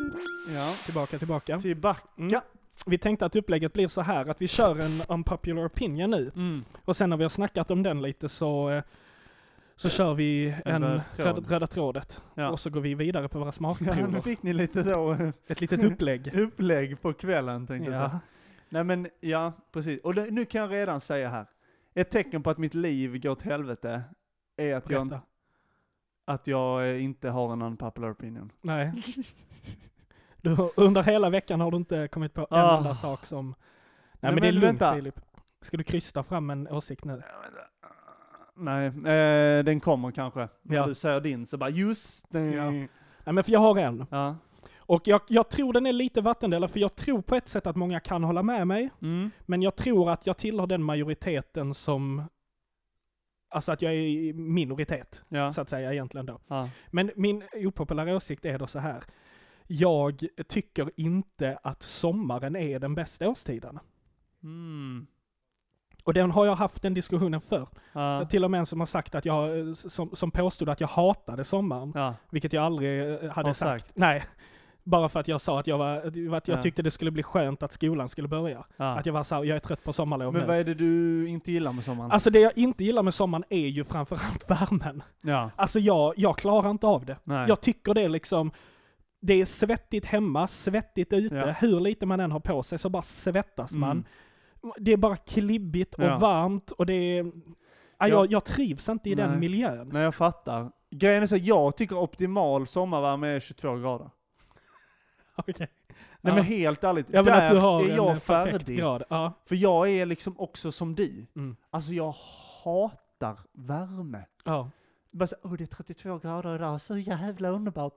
Speaker 1: Ja.
Speaker 2: tillbaka, tillbaka.
Speaker 1: Till Backa.
Speaker 2: Mm. Vi tänkte att upplägget blir så här att vi kör en unpopular opinion nu
Speaker 1: Mm.
Speaker 2: och sen när vi har snackat om den lite så, eh, så kör vi
Speaker 1: En
Speaker 2: en
Speaker 1: röd tråd.
Speaker 2: röd- röda trådet
Speaker 1: Ja.
Speaker 2: och så går vi vidare på våra
Speaker 1: Ja, nu
Speaker 2: smakprover.
Speaker 1: fick ni lite så eh,
Speaker 2: Ett litet upplägg.
Speaker 1: upplägg på kvällen tänkte jag säga.
Speaker 2: ja.
Speaker 1: Nej men, ja precis. Och det, nu kan jag redan säga här. Ett tecken på att mitt liv går åt helvete är att jag,
Speaker 2: Berätta.
Speaker 1: att jag eh, inte har en unpopular opinion.
Speaker 2: Nej. Du, under hela veckan har du inte kommit på en
Speaker 1: Ah.
Speaker 2: enda sak som... Nej
Speaker 1: Nej,
Speaker 2: men, det är
Speaker 1: men
Speaker 2: lugnt
Speaker 1: vänta.
Speaker 2: Filip. Ska du krysta fram en åsikt nu?
Speaker 1: Nej, eh, den kommer kanske.
Speaker 2: Ja.
Speaker 1: När du säger din så bara just det.
Speaker 2: Ja. Nej men för jag har en.
Speaker 1: Ja.
Speaker 2: Och jag, jag tror den är lite vattendelare, för jag tror på ett sätt att många kan hålla med mig,
Speaker 1: Mm.
Speaker 2: men jag tror att jag tillhör den majoriteten som Alltså att jag är i minoritet,
Speaker 1: Ja.
Speaker 2: så att säga egentligen då.
Speaker 1: Ja.
Speaker 2: Men min opopulära åsikt är då så här. Jag tycker inte att sommaren är den bästa årstiden.
Speaker 1: Mm.
Speaker 2: Och den har jag haft den diskussionen för.
Speaker 1: Ja.
Speaker 2: Till och med en som har sagt att jag, eh, som, som påstod att jag hatade sommaren.
Speaker 1: Ja.
Speaker 2: Vilket jag aldrig eh, hade
Speaker 1: Har
Speaker 2: sagt.
Speaker 1: sagt.
Speaker 2: Nej. Bara för att jag sa att jag, var, att jag
Speaker 1: Ja.
Speaker 2: tyckte det skulle bli skönt att skolan skulle börja.
Speaker 1: Ja.
Speaker 2: Att jag var så här, jag är trött på sommarlov
Speaker 1: Men
Speaker 2: nu.
Speaker 1: vad är det du inte gillar med sommaren?
Speaker 2: Alltså det jag inte gillar med sommaren är ju framförallt värmen.
Speaker 1: ja.
Speaker 2: Alltså jag, jag klarar inte av det.
Speaker 1: Nej.
Speaker 2: Jag tycker det är liksom, det är svettigt hemma, svettigt ute.
Speaker 1: Ja.
Speaker 2: Hur lite man än har på sig så bara svettas
Speaker 1: Mm.
Speaker 2: alltså, man. Det är bara klibbigt och
Speaker 1: Ja.
Speaker 2: varmt och det är... Ja,
Speaker 1: Ja.
Speaker 2: jag, jag trivs inte i den
Speaker 1: Nej.
Speaker 2: miljön.
Speaker 1: Nej, jag fattar. Grejen är så här, jag tycker optimal sommarvärme är 22 grader.
Speaker 2: Okej.
Speaker 1: Nej
Speaker 2: Ja.
Speaker 1: men helt ärligt,
Speaker 2: Ja, men
Speaker 1: där
Speaker 2: att du har
Speaker 1: är
Speaker 2: en
Speaker 1: jag
Speaker 2: perfekt
Speaker 1: färdig.
Speaker 2: grad. Ja.
Speaker 1: För jag är liksom också som du.
Speaker 2: Mm.
Speaker 1: Alltså jag hatar värme.
Speaker 2: Ja.
Speaker 1: Bara så, oh, det är 32 grader idag, så jävla underbart.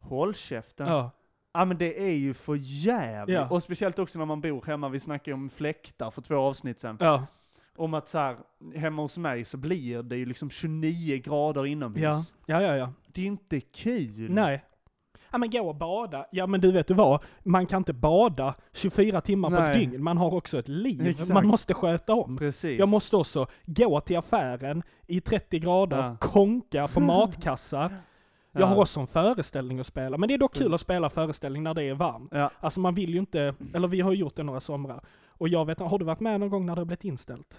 Speaker 1: Håll käften. Ja.
Speaker 2: Ja.
Speaker 1: men det är ju för jävligt.
Speaker 2: Ja.
Speaker 1: Och speciellt också när man bor hemma, vi snackade ju om fläktar för två avsnitt sedan.
Speaker 2: Ja.
Speaker 1: Om att så här, hemma hos mig så blir det ju liksom 29 grader inomhus.
Speaker 2: Ja. Ja, ja, ja.
Speaker 1: Det är inte kul.
Speaker 2: Nej. Ja men gå och bada. Ja men du vet du vad, man kan inte bada 24 timmar på ett
Speaker 1: Nej.
Speaker 2: dygn. Man har också ett liv.
Speaker 1: Exakt.
Speaker 2: Man måste sköta om.
Speaker 1: Precis.
Speaker 2: Jag måste också gå till affären i 30 grader,
Speaker 1: Ja.
Speaker 2: konka på matkassar. Jag
Speaker 1: Ja. Mm.
Speaker 2: har också en föreställning att spela, men det är dock kul att spela föreställning när det är varmt.
Speaker 1: Ja.
Speaker 2: Alltså man vill ju inte, eller vi har gjort det några somrar. Och jag vet har du varit med någon gång när det har blivit
Speaker 1: Mm.
Speaker 2: inställt?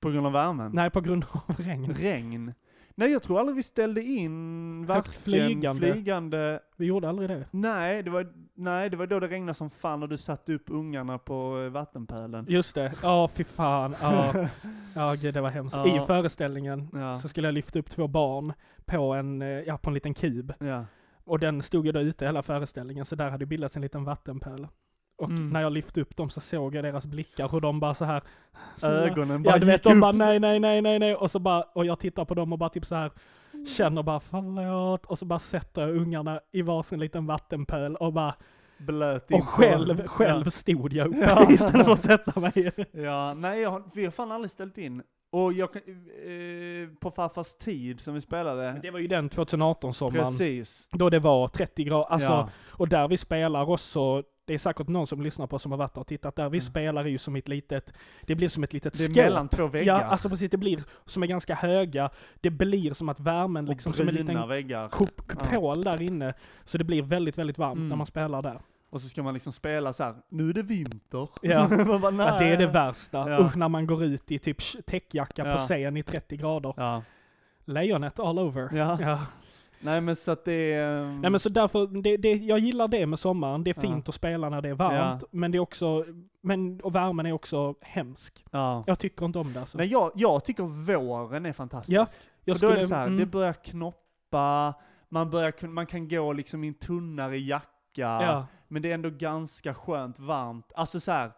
Speaker 1: På grund av värmen.
Speaker 2: Nej, på grund av regn.
Speaker 1: Regn. Nej, jag tror aldrig vi ställde in
Speaker 2: Högt
Speaker 1: varken
Speaker 2: flygande.
Speaker 1: flygande.
Speaker 2: Vi gjorde aldrig det.
Speaker 1: Nej, det var, nej, det var då det regnade som fan och du satte upp ungarna på eh, vattenpölen.
Speaker 2: Just det, ja fy fan. Ja, ja gud, det var hemskt.
Speaker 1: Ja.
Speaker 2: I föreställningen
Speaker 1: Ja.
Speaker 2: så skulle jag lyfta upp två barn på en, eh, ja, på en liten kub.
Speaker 1: Ja.
Speaker 2: Och den stod ju då ute hela föreställningen, så där hade bildats en liten vattenpöl. Och
Speaker 1: Mm.
Speaker 2: när jag lyfte upp dem så såg jag deras blickar, hur de bara så här... snälla-
Speaker 1: Ögonen bara
Speaker 2: Ja, du vet,
Speaker 1: gick
Speaker 2: de
Speaker 1: upp.
Speaker 2: bara nej, nej, nej, nej, nej. Och så bara, och jag tittar på dem och bara typ så här känner bara förlåt. Och så bara sätter jag ungarna i varsin liten vattenpöl och bara,
Speaker 1: Blöt in
Speaker 2: och
Speaker 1: på-
Speaker 2: själv, själv stod jag uppe
Speaker 1: Ja.
Speaker 2: istället för att sätta mig.
Speaker 1: Ja, ja nej, jag, har- vi har fan aldrig ställt in. Och jag kan, eh, på farfars tid som vi spelade.
Speaker 2: Det var ju den 2018-sommaren,
Speaker 1: Precis.
Speaker 2: då det var 30 grader, alltså
Speaker 1: ja.
Speaker 2: Och där vi spelar också, det är säkert någon som lyssnar på som har varit där och tittat, där vi
Speaker 1: Mm.
Speaker 2: spelar är ju som ett litet, det blir som ett litet
Speaker 1: Det är
Speaker 2: skåp.
Speaker 1: mellan två
Speaker 2: Ja,
Speaker 1: väggar.
Speaker 2: alltså precis, det blir som är ganska höga, det blir som att värmen
Speaker 1: och
Speaker 2: liksom, som
Speaker 1: bruna
Speaker 2: en liten
Speaker 1: väggar.
Speaker 2: kup- kupol där inne, så det blir väldigt, väldigt varmt
Speaker 1: Mm.
Speaker 2: när man spelar där.
Speaker 1: Och så ska man liksom spela så här. nu är det vinter.
Speaker 2: Ja.
Speaker 1: Man bara,
Speaker 2: Ja, det är det
Speaker 1: "Nej."
Speaker 2: värsta.
Speaker 1: Ja.
Speaker 2: Usch, när man går ut i typ sh- täckjacka
Speaker 1: Ja.
Speaker 2: på scen i 30 grader.
Speaker 1: Ja.
Speaker 2: Lejonet all over.
Speaker 1: Ja.
Speaker 2: Ja.
Speaker 1: Nej men så att det är... ehm,
Speaker 2: Nej men så därför, det, det, jag gillar det med sommaren, det är
Speaker 1: Ja.
Speaker 2: fint att spela när det är varmt, men det är också, men, och värmen är också hemsk.
Speaker 1: ja.
Speaker 2: Jag tycker inte om det alltså.
Speaker 1: Nej jag, jag tycker våren är fantastisk.
Speaker 2: Ja,
Speaker 1: För
Speaker 2: jag
Speaker 1: då är det så här,
Speaker 2: mm,
Speaker 1: det börjar knoppa, man, börjar, kun- man kan gå liksom i en tunnare jacka,
Speaker 2: ja,
Speaker 1: men det är ändå ganska skönt varmt. Alltså så här,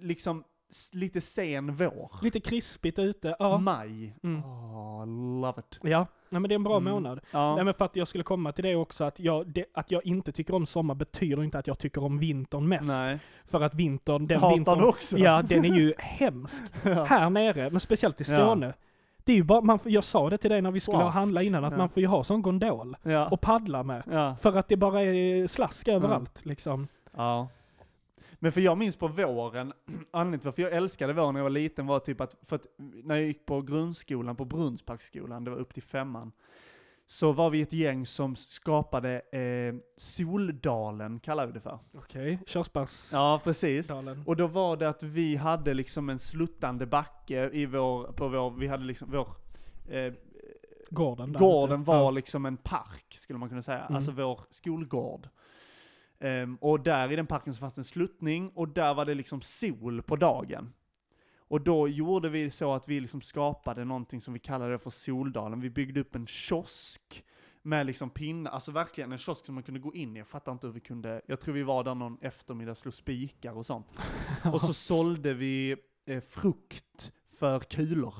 Speaker 1: liksom s- lite sen vår.
Speaker 2: lite krispigt ute. Ja,
Speaker 1: Maj.
Speaker 2: Mm.
Speaker 1: Oh, love it.
Speaker 2: ja. Nej, men det är en bra
Speaker 1: Mm.
Speaker 2: månad.
Speaker 1: Ja.
Speaker 2: Nej, men för att jag skulle komma till det också, att jag, det, att jag inte tycker om sommar betyder inte att jag tycker om vintern mest.
Speaker 1: Nej.
Speaker 2: För att vintern, den
Speaker 1: Hatar
Speaker 2: vintern,
Speaker 1: du också?
Speaker 2: Ja, den är ju hemsk. Här nere, men speciellt i
Speaker 1: Ja.
Speaker 2: Skåne. Det är ju bara, man, får- jag sa det till dig när vi skulle
Speaker 1: Slask.
Speaker 2: handla innan, att
Speaker 1: Ja.
Speaker 2: man får ju ha sån gondol
Speaker 1: Ja.
Speaker 2: och paddla med.
Speaker 1: ja.
Speaker 2: För att det bara är slask överallt liksom.
Speaker 1: Ja. Men för jag minns på våren, anledningen till varför jag älskade våren när jag var liten var typ att, för att när jag gick på grundskolan, på Brunnsparksskolan, det var upp till femman, så var vi ett gäng som skapade eh, Soldalen, kallar vi det för.
Speaker 2: Okej, körsbärsdalen.
Speaker 1: Ja, precis. Och då var det att vi hade liksom en sluttande backe i vår, på vår, vi hade liksom vår, eh,
Speaker 2: Gården där
Speaker 1: Gården
Speaker 2: ute.
Speaker 1: var
Speaker 2: Ja.
Speaker 1: liksom en park, skulle man kunna säga.
Speaker 2: Mm.
Speaker 1: Alltså vår skolgård. Ehm, och där i den parken så fanns det en sluttning och där var det liksom sol på dagen. Och då gjorde vi så att vi liksom skapade någonting som vi kallade för Soldalen. Vi byggde upp en kiosk med liksom pinnar, alltså verkligen en kiosk som man kunde gå in i. Jag fattar inte hur vi kunde, jag tror vi var där någon eftermiddag och slog spikar och sånt. Och så sålde vi eh, frukt för kulor.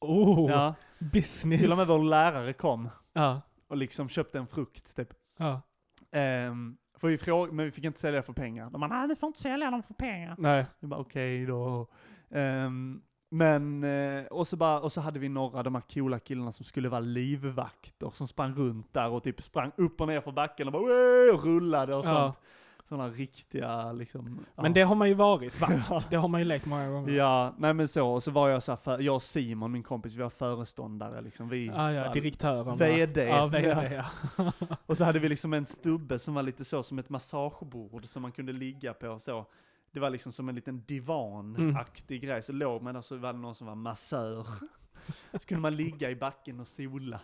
Speaker 2: Oh,
Speaker 1: Ja.
Speaker 2: business.
Speaker 1: Till och med vår lärare kom
Speaker 2: Ja,
Speaker 1: och liksom köpte en frukt typ.
Speaker 2: ja.
Speaker 1: Ehm, för vi fråg- men vi fick inte sälja för pengar. De bara, nej du får inte sälja dem för pengar.
Speaker 2: Nej.
Speaker 1: Jag bara, okej då. Ehm, Men, eh, och så, bara, och så hade vi några av de här coola killarna som skulle vara livvakter som sprang runt där och typ sprang upp och ner för backen och bara "Wee!" och rullade och
Speaker 2: Ja.
Speaker 1: sånt. Sådana riktiga liksom.
Speaker 2: Men det
Speaker 1: ja.
Speaker 2: har man ju varit, vakt. Det har man ju lekt många gånger.
Speaker 1: Ja, nej men så, och så var jag så här, för, jag och Simon, min kompis, vi var föreståndare liksom. Vi,
Speaker 2: Ja, ja,
Speaker 1: var-
Speaker 2: direktören.
Speaker 1: VD.
Speaker 2: Ja, VD, ja.
Speaker 1: Och så hade vi liksom en stubbe som var lite så som ett massagebord som man kunde ligga på så. Det var liksom som en liten divanaktig grej, så låg man där så var det någon som var massör. Så kunde man ligga i backen och sola.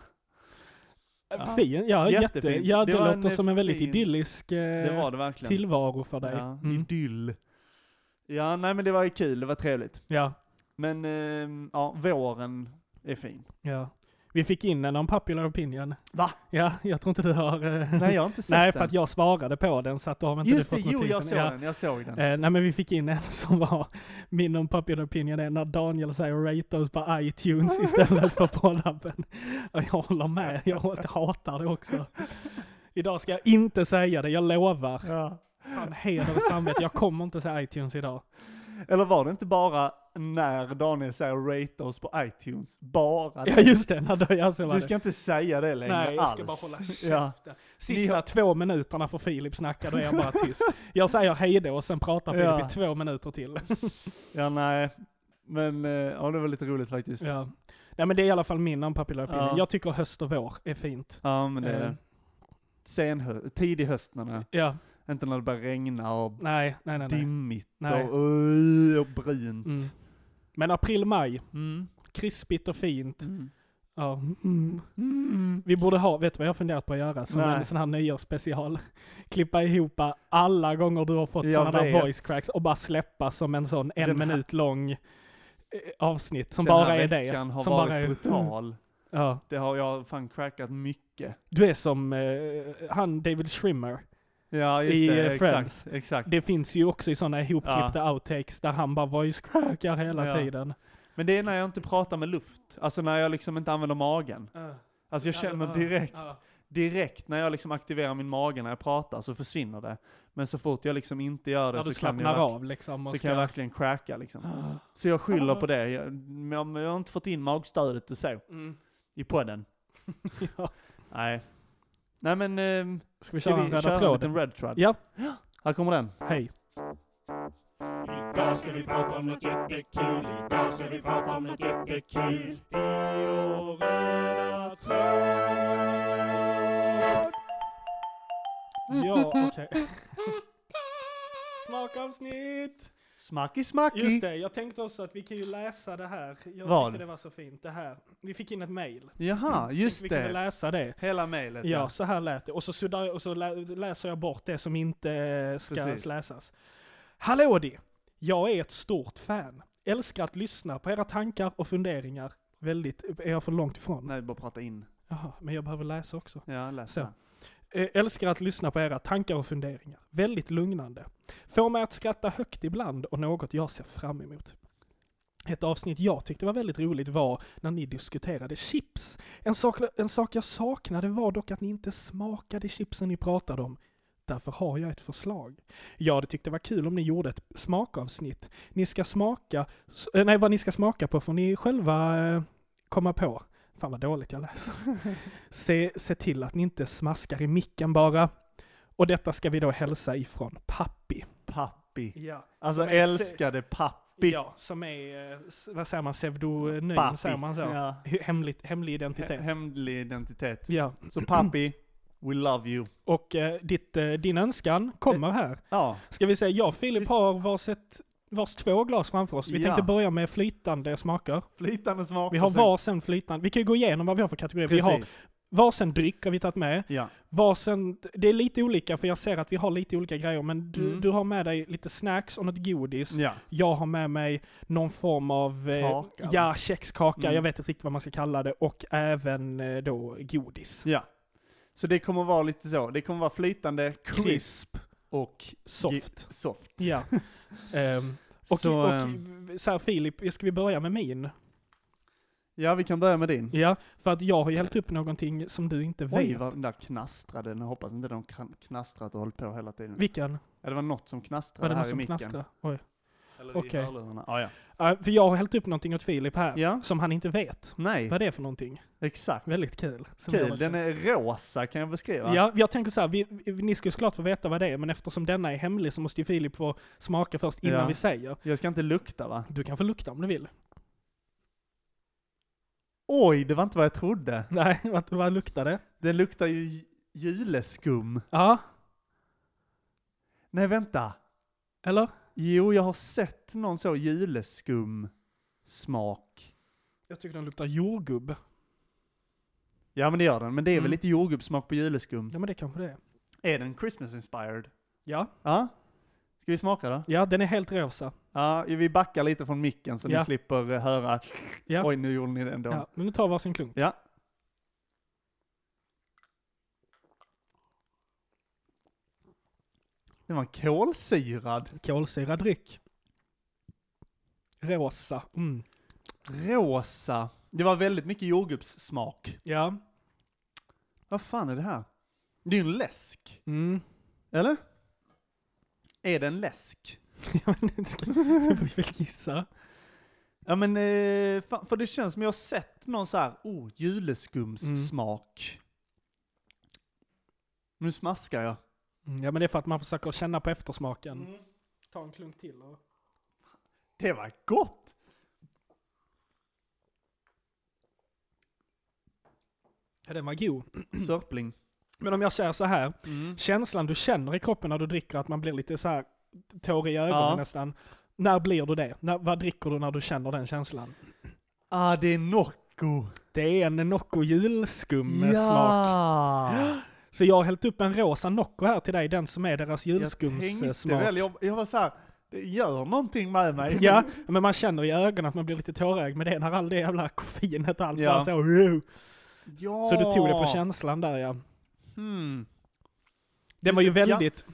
Speaker 1: Ja.
Speaker 2: Fin, ja, jätte,
Speaker 1: Jättefint.
Speaker 2: ja
Speaker 1: Det
Speaker 2: det,
Speaker 1: var
Speaker 2: låter
Speaker 1: en
Speaker 2: som en väldigt
Speaker 1: fin-
Speaker 2: idyllisk eh,
Speaker 1: Det var det verkligen.
Speaker 2: tillvaro för dig.
Speaker 1: Ja,
Speaker 2: mm.
Speaker 1: Idyll. Ja, nej men det var ju kul, det var trevligt.
Speaker 2: ja,
Speaker 1: Men ehm, ja, våren är fin.
Speaker 2: ja. Vi fick in en om Popular Opinion.
Speaker 1: Va?
Speaker 2: Ja, jag tror inte du har... eh,
Speaker 1: Nej, jag har inte sett
Speaker 2: Nej,
Speaker 1: den.
Speaker 2: för att jag svarade på den så att då har inte
Speaker 1: Just
Speaker 2: du
Speaker 1: det,
Speaker 2: fått
Speaker 1: jo
Speaker 2: någonting
Speaker 1: jag
Speaker 2: sen.
Speaker 1: såg
Speaker 2: Ja.
Speaker 1: den, jag såg den.
Speaker 2: Eh, nej men vi fick in en som var min unpopular opinion är när Daniel säger rate oss på iTunes istället för poddappen. Och jag håller med, jag hatar det också. Idag ska jag inte säga det, jag lovar.
Speaker 1: Ja.
Speaker 2: Fan heder och samvete, jag kommer inte säga iTunes idag.
Speaker 1: Eller var det inte bara när Daniel säger rate oss på iTunes, bara
Speaker 2: Ja
Speaker 1: det?
Speaker 2: just det, när du, jag så var
Speaker 1: Du
Speaker 2: det.
Speaker 1: ska inte säga det längre
Speaker 2: Nej, jag ska bara
Speaker 1: alls.
Speaker 2: hålla
Speaker 1: ja.
Speaker 2: käften. Sista två minuterna får Filip snacka, då är jag bara tyst. Jag säger hejdå och sen pratar Filip
Speaker 1: Ja.
Speaker 2: i två minuter till.
Speaker 1: ja, nej. Men eh, ja, det var lite roligt faktiskt. Ja,
Speaker 2: Ja. Nej men det är i alla fall min unpopular opinion.
Speaker 1: Ja.
Speaker 2: Jag tycker höst och vår är fint.
Speaker 1: men det är
Speaker 2: Eh,
Speaker 1: det. Sen hö- tidig höst menar jag.
Speaker 2: Ja,
Speaker 1: Inte när det börjar regna och
Speaker 2: nej, nej, nej. nej.
Speaker 1: dimmigt
Speaker 2: Nej.
Speaker 1: Och, uh, och brunt.
Speaker 2: Mm. Men april, maj,
Speaker 1: Mm.
Speaker 2: krispigt och fint.
Speaker 1: Mm.
Speaker 2: Ja. Mm. Vi borde ha, vet du vad jag har funderat på att göra? Som
Speaker 1: Nej.
Speaker 2: en sån här nyårsspecial. Klippa ihop alla gånger du har fått
Speaker 1: Jag
Speaker 2: sådana där
Speaker 1: vet.
Speaker 2: voice cracks och bara släppa som en sån en
Speaker 1: Den här-
Speaker 2: minut lång eh, avsnitt som
Speaker 1: Den
Speaker 2: bara
Speaker 1: här
Speaker 2: är det.
Speaker 1: veckan har
Speaker 2: som
Speaker 1: varit
Speaker 2: bara är, Mm.
Speaker 1: brutal.
Speaker 2: Ja.
Speaker 1: Det har jag fan crackat mycket.
Speaker 2: Du är som eh, han David Schwimmer.
Speaker 1: Ja, just
Speaker 2: I,
Speaker 1: det.
Speaker 2: eh, Friends.
Speaker 1: Exakt, exakt.
Speaker 2: Det finns ju också i sådana ihopklippta outtakes där han bara voice crackar hela
Speaker 1: Ja.
Speaker 2: tiden.
Speaker 1: Men det är när jag inte pratar med luft. Alltså när jag liksom inte använder magen. Alltså jag känner direkt, direkt när jag liksom aktiverar min mage när jag pratar så försvinner det. Men så fort jag liksom inte gör det
Speaker 2: När
Speaker 1: så
Speaker 2: du
Speaker 1: kan,
Speaker 2: slappnar
Speaker 1: jag, verk-
Speaker 2: av liksom. och
Speaker 1: så
Speaker 2: ska-
Speaker 1: kan jag verkligen cracka liksom.
Speaker 2: Ah.
Speaker 1: Så jag skyller på det. Jag, men jag, men jag har inte fått in magstödet och så
Speaker 2: Mm.
Speaker 1: i podden.
Speaker 2: Ja.
Speaker 1: Nej. Nej men, ehm,
Speaker 2: Ska vi
Speaker 1: ska
Speaker 2: köra en
Speaker 1: vi
Speaker 2: röda
Speaker 1: köra en
Speaker 2: tråden?
Speaker 1: liten red tråd?
Speaker 2: Ja.
Speaker 1: Här kommer den.
Speaker 2: Hej.
Speaker 3: Idag ska vi prata om något jättekul. Idag ska vi prata om något jättekul. I år röda tråd.
Speaker 2: Ja, okej. Smakavsnitt!
Speaker 1: Smacky smacky!
Speaker 2: Just det, jag tänkte också att vi kan ju läsa det här. Jag
Speaker 1: Vad?
Speaker 2: tyckte det var så fint, det här. Vi fick in ett mail.
Speaker 1: Jaha, Ah, just
Speaker 2: vi kan väl
Speaker 1: det.
Speaker 2: läsa det.
Speaker 1: Hela mejlet
Speaker 2: Ja, så här lät det. Och så, suddar, och så lä, läser jag bort det som inte eh, ska
Speaker 1: Precis.
Speaker 2: läsas. Hallå Di! Jag är ett stort fan. Älskar att lyssna på era tankar och funderingar. Väldigt, är jag för långt ifrån?
Speaker 1: Nej, bara prata in.
Speaker 2: Jaha, men jag behöver läsa också.
Speaker 1: Ja, läs
Speaker 2: Så.
Speaker 1: den.
Speaker 2: Eh, Älskar att lyssna på era tankar och funderingar. Väldigt lugnande. Får mig att skratta högt ibland och något jag ser fram emot. Ett avsnitt jag tyckte var väldigt roligt var när ni diskuterade chips. En sak, en sak jag saknade var dock att ni inte smakade chipsen ni pratade om. Därför har jag ett förslag. Jag hade tyckt det var kul om ni gjorde ett smakavsnitt. Ni ska smaka, s- eh, nej vad ni ska smaka på får ni själva eh, komma på. Fan vad dåligt jag läser. Se, se till att ni inte smaskar i micken bara. Och detta ska vi då hälsa ifrån pappi.
Speaker 1: Pappi.
Speaker 2: Ja,
Speaker 1: Alltså
Speaker 2: Men se-
Speaker 1: älskade pappi.
Speaker 2: som är, eh, s- vad säger man, pseudonym,
Speaker 1: Pappi.
Speaker 2: säger man så?
Speaker 1: Ja.
Speaker 2: H- Hemligt, hemlig
Speaker 1: He-
Speaker 2: identitet.
Speaker 1: Hemlig identitet.
Speaker 2: ja,
Speaker 1: Så pappi, we love you.
Speaker 2: och eh, ditt, eh, din önskan kommer här.
Speaker 1: Ja,
Speaker 2: Ska vi säga, jag och Filip
Speaker 1: Visst.
Speaker 2: har varsitt, vars två glas framför oss. Vi
Speaker 1: Ja.
Speaker 2: tänkte börja med flytande smaker.
Speaker 1: flytande smak.
Speaker 2: Vi har
Speaker 1: och sen-
Speaker 2: varsin flytande, vi kan ju gå igenom vad vi har för kategorier. Vi har
Speaker 1: Precis.
Speaker 2: varsin dryck har vi tagit med.
Speaker 1: Ja.
Speaker 2: Varsen, det är lite olika för jag ser att vi har lite olika grejer men du,
Speaker 1: Mm.
Speaker 2: du har med dig lite snacks och något godis.
Speaker 1: ja.
Speaker 2: Jag har med mig någon form av eh,
Speaker 1: Kaka.
Speaker 2: ja, kexkaka,
Speaker 1: Mm.
Speaker 2: jag vet inte riktigt vad man ska kalla det, och även eh, då godis.
Speaker 1: Ja. Så det kommer vara lite så. Det kommer vara flytande, crisp,
Speaker 2: Crisp,
Speaker 1: och
Speaker 2: soft.
Speaker 1: soft.
Speaker 2: Ja. Ehm, och
Speaker 1: Så,
Speaker 2: och
Speaker 1: ehm,
Speaker 2: så här, Filip, ska vi börja med min?
Speaker 1: ja, vi kan börja med din.
Speaker 2: Ja, för att jag har hjälpt upp någonting som du inte
Speaker 1: Oj,
Speaker 2: vet.
Speaker 1: vad den där knastrade. Jag hoppas inte de kan- knastrat och hållit på hela tiden.
Speaker 2: Vilken?
Speaker 1: Ja, det var något som
Speaker 2: Var
Speaker 1: knastrade
Speaker 2: det någon
Speaker 1: här i
Speaker 2: som
Speaker 1: micken.
Speaker 2: knastrade? Oj.
Speaker 1: Eller eller
Speaker 2: Okej.
Speaker 1: i hörlurarna. Ah, ja.
Speaker 2: Ja, för jag har hällt upp någonting åt Filip här,
Speaker 1: Ja.
Speaker 2: som han inte vet.
Speaker 1: Nej,
Speaker 2: Vad det är för någonting.
Speaker 1: exakt.
Speaker 2: Väldigt kul. Som jag liksom-
Speaker 1: Kul,
Speaker 2: också-
Speaker 1: den är rosa kan jag beskriva.
Speaker 2: Ja, jag tänker så här, vi, vi- ni skulle såklart få veta vad det är, men eftersom denna är hemlig så måste ju Filip få smaka först innan
Speaker 1: Ja.
Speaker 2: vi säger.
Speaker 1: Jag ska inte lukta va?
Speaker 2: Du kan få lukta om du vill.
Speaker 1: Oj, det var inte vad jag trodde.
Speaker 2: Nej, vad, vad luktar det?
Speaker 1: Den luktar ju j- juleskum.
Speaker 2: Ja,
Speaker 1: Nej, vänta.
Speaker 2: eller?
Speaker 1: Jo, jag har sett någon så juleskum smak.
Speaker 2: Jag tycker den luktar jordgubb.
Speaker 1: Ja, men det gör den. Men det är
Speaker 2: Mm.
Speaker 1: väl lite jordgubbssmak på juleskum.
Speaker 2: Ja, men det kanske det är.
Speaker 1: Är den Christmas inspired?
Speaker 2: Ja,
Speaker 1: Ja. Ska vi smaka då?
Speaker 2: ja, den är helt rosa.
Speaker 1: Ja, vi backar lite från micken så
Speaker 2: Ja.
Speaker 1: ni slipper eh, höra.
Speaker 2: Ja.
Speaker 1: Oj, nu gjorde ni det ändå.
Speaker 2: Ja, men nu tar vi varsin klunk.
Speaker 1: Ja. Den var kolsyrad.
Speaker 2: Kolsyrad dryck. Rosa. Mm.
Speaker 1: Rosa. Det var väldigt mycket jordgubbssmak.
Speaker 2: Ja.
Speaker 1: Vad fan är det här? Det är ju en läsk.
Speaker 2: Mm.
Speaker 1: Eller? Är det en läsk?
Speaker 2: Ja, men det ska- det får vi väl gissa.
Speaker 1: Ja men, eh, fan, för det känns som jag har sett någon så här, oh,
Speaker 2: Mm.
Speaker 1: juleskumssmak. Nu smaskar jag.
Speaker 2: Mm, Ja, men det är för att man försöker känna på eftersmaken. Mm, Ta en klunk till och...
Speaker 1: Det var gott!
Speaker 2: Ja, den var god.
Speaker 1: Sörpling.
Speaker 2: Men om jag säger så här,
Speaker 1: Mm.
Speaker 2: känslan du känner i kroppen när du dricker, att man blir lite så här tår i ögonen
Speaker 1: Ja.
Speaker 2: nästan. När blir du det? När, vad dricker du när du känner den känslan?
Speaker 1: Ah, det är Nocco.
Speaker 2: Det är en Nocco julskum med smak.
Speaker 1: Ja!
Speaker 2: Så jag har hällt upp en rosa Nocco här till dig, den som är deras
Speaker 1: Jag tänkte
Speaker 2: julskumssmak.
Speaker 1: väl, jag, jag var så här, det gör någonting med mig.
Speaker 2: Ja, men man känner i ögonen att man blir lite tårögd med det när all det jävla koffeinet och allt
Speaker 1: Ja.
Speaker 2: bara så. "Wow."
Speaker 1: Ja.
Speaker 2: Så du tog det på känslan där ja.
Speaker 1: Hmm.
Speaker 2: Den var ju
Speaker 1: Ja.
Speaker 2: väldigt,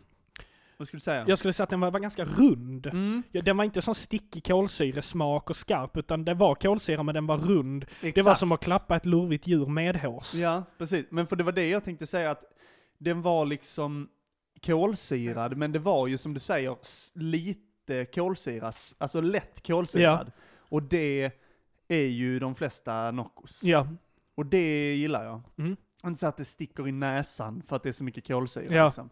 Speaker 1: Vad skulle du säga?
Speaker 2: jag skulle säga att den var, var ganska rund.
Speaker 1: Mm,
Speaker 2: Ja, den var inte sån stickig kolsyresmak och skarp, utan det var kolsyra men den var rund.
Speaker 1: exakt.
Speaker 2: Det var som att klappa ett lurvigt djur medhårs.
Speaker 1: Ja, precis. Men för det var det jag tänkte säga att den var liksom kolsyrad, men det var ju som du säger s- lite kolsyra, s- alltså lätt kolsyrad. Och det är ju de flesta Noccos.
Speaker 2: Ja,
Speaker 1: Och det gillar jag.
Speaker 2: Mm.
Speaker 1: Inte så att det sticker i näsan för att det är så mycket kolsyra.
Speaker 2: Ja.
Speaker 1: Liksom.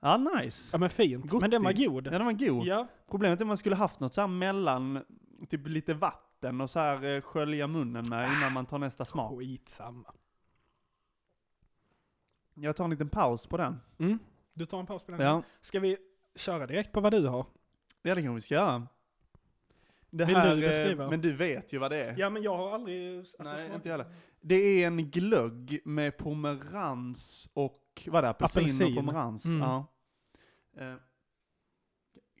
Speaker 1: Ja, nice.
Speaker 2: ja men fint. Men den var god.
Speaker 1: Ja, den var god.
Speaker 2: Ja.
Speaker 1: Problemet är att man skulle haft något så här mellan, typ lite vatten och så här eh, skölja munnen med
Speaker 2: Ah,
Speaker 1: innan man tar nästa smak.
Speaker 2: Skitsamma.
Speaker 1: Jag tar en liten paus på den.
Speaker 2: Mm. Du tar en paus på den.
Speaker 1: Ja,
Speaker 2: Ska vi köra direkt på vad du har?
Speaker 1: ja det kanske vi ska göra. Det
Speaker 2: Vill
Speaker 1: här,
Speaker 2: du
Speaker 1: eh,
Speaker 2: beskriva?
Speaker 1: men du vet ju vad det är.
Speaker 2: Ja men jag har aldrig... alltså,
Speaker 1: Nej, inte jag heller. Det är en glögg med pomerans och, vad är det, apelsin,
Speaker 2: Apelsin.
Speaker 1: och pomerans.
Speaker 2: Mm.
Speaker 1: Ja. Eh,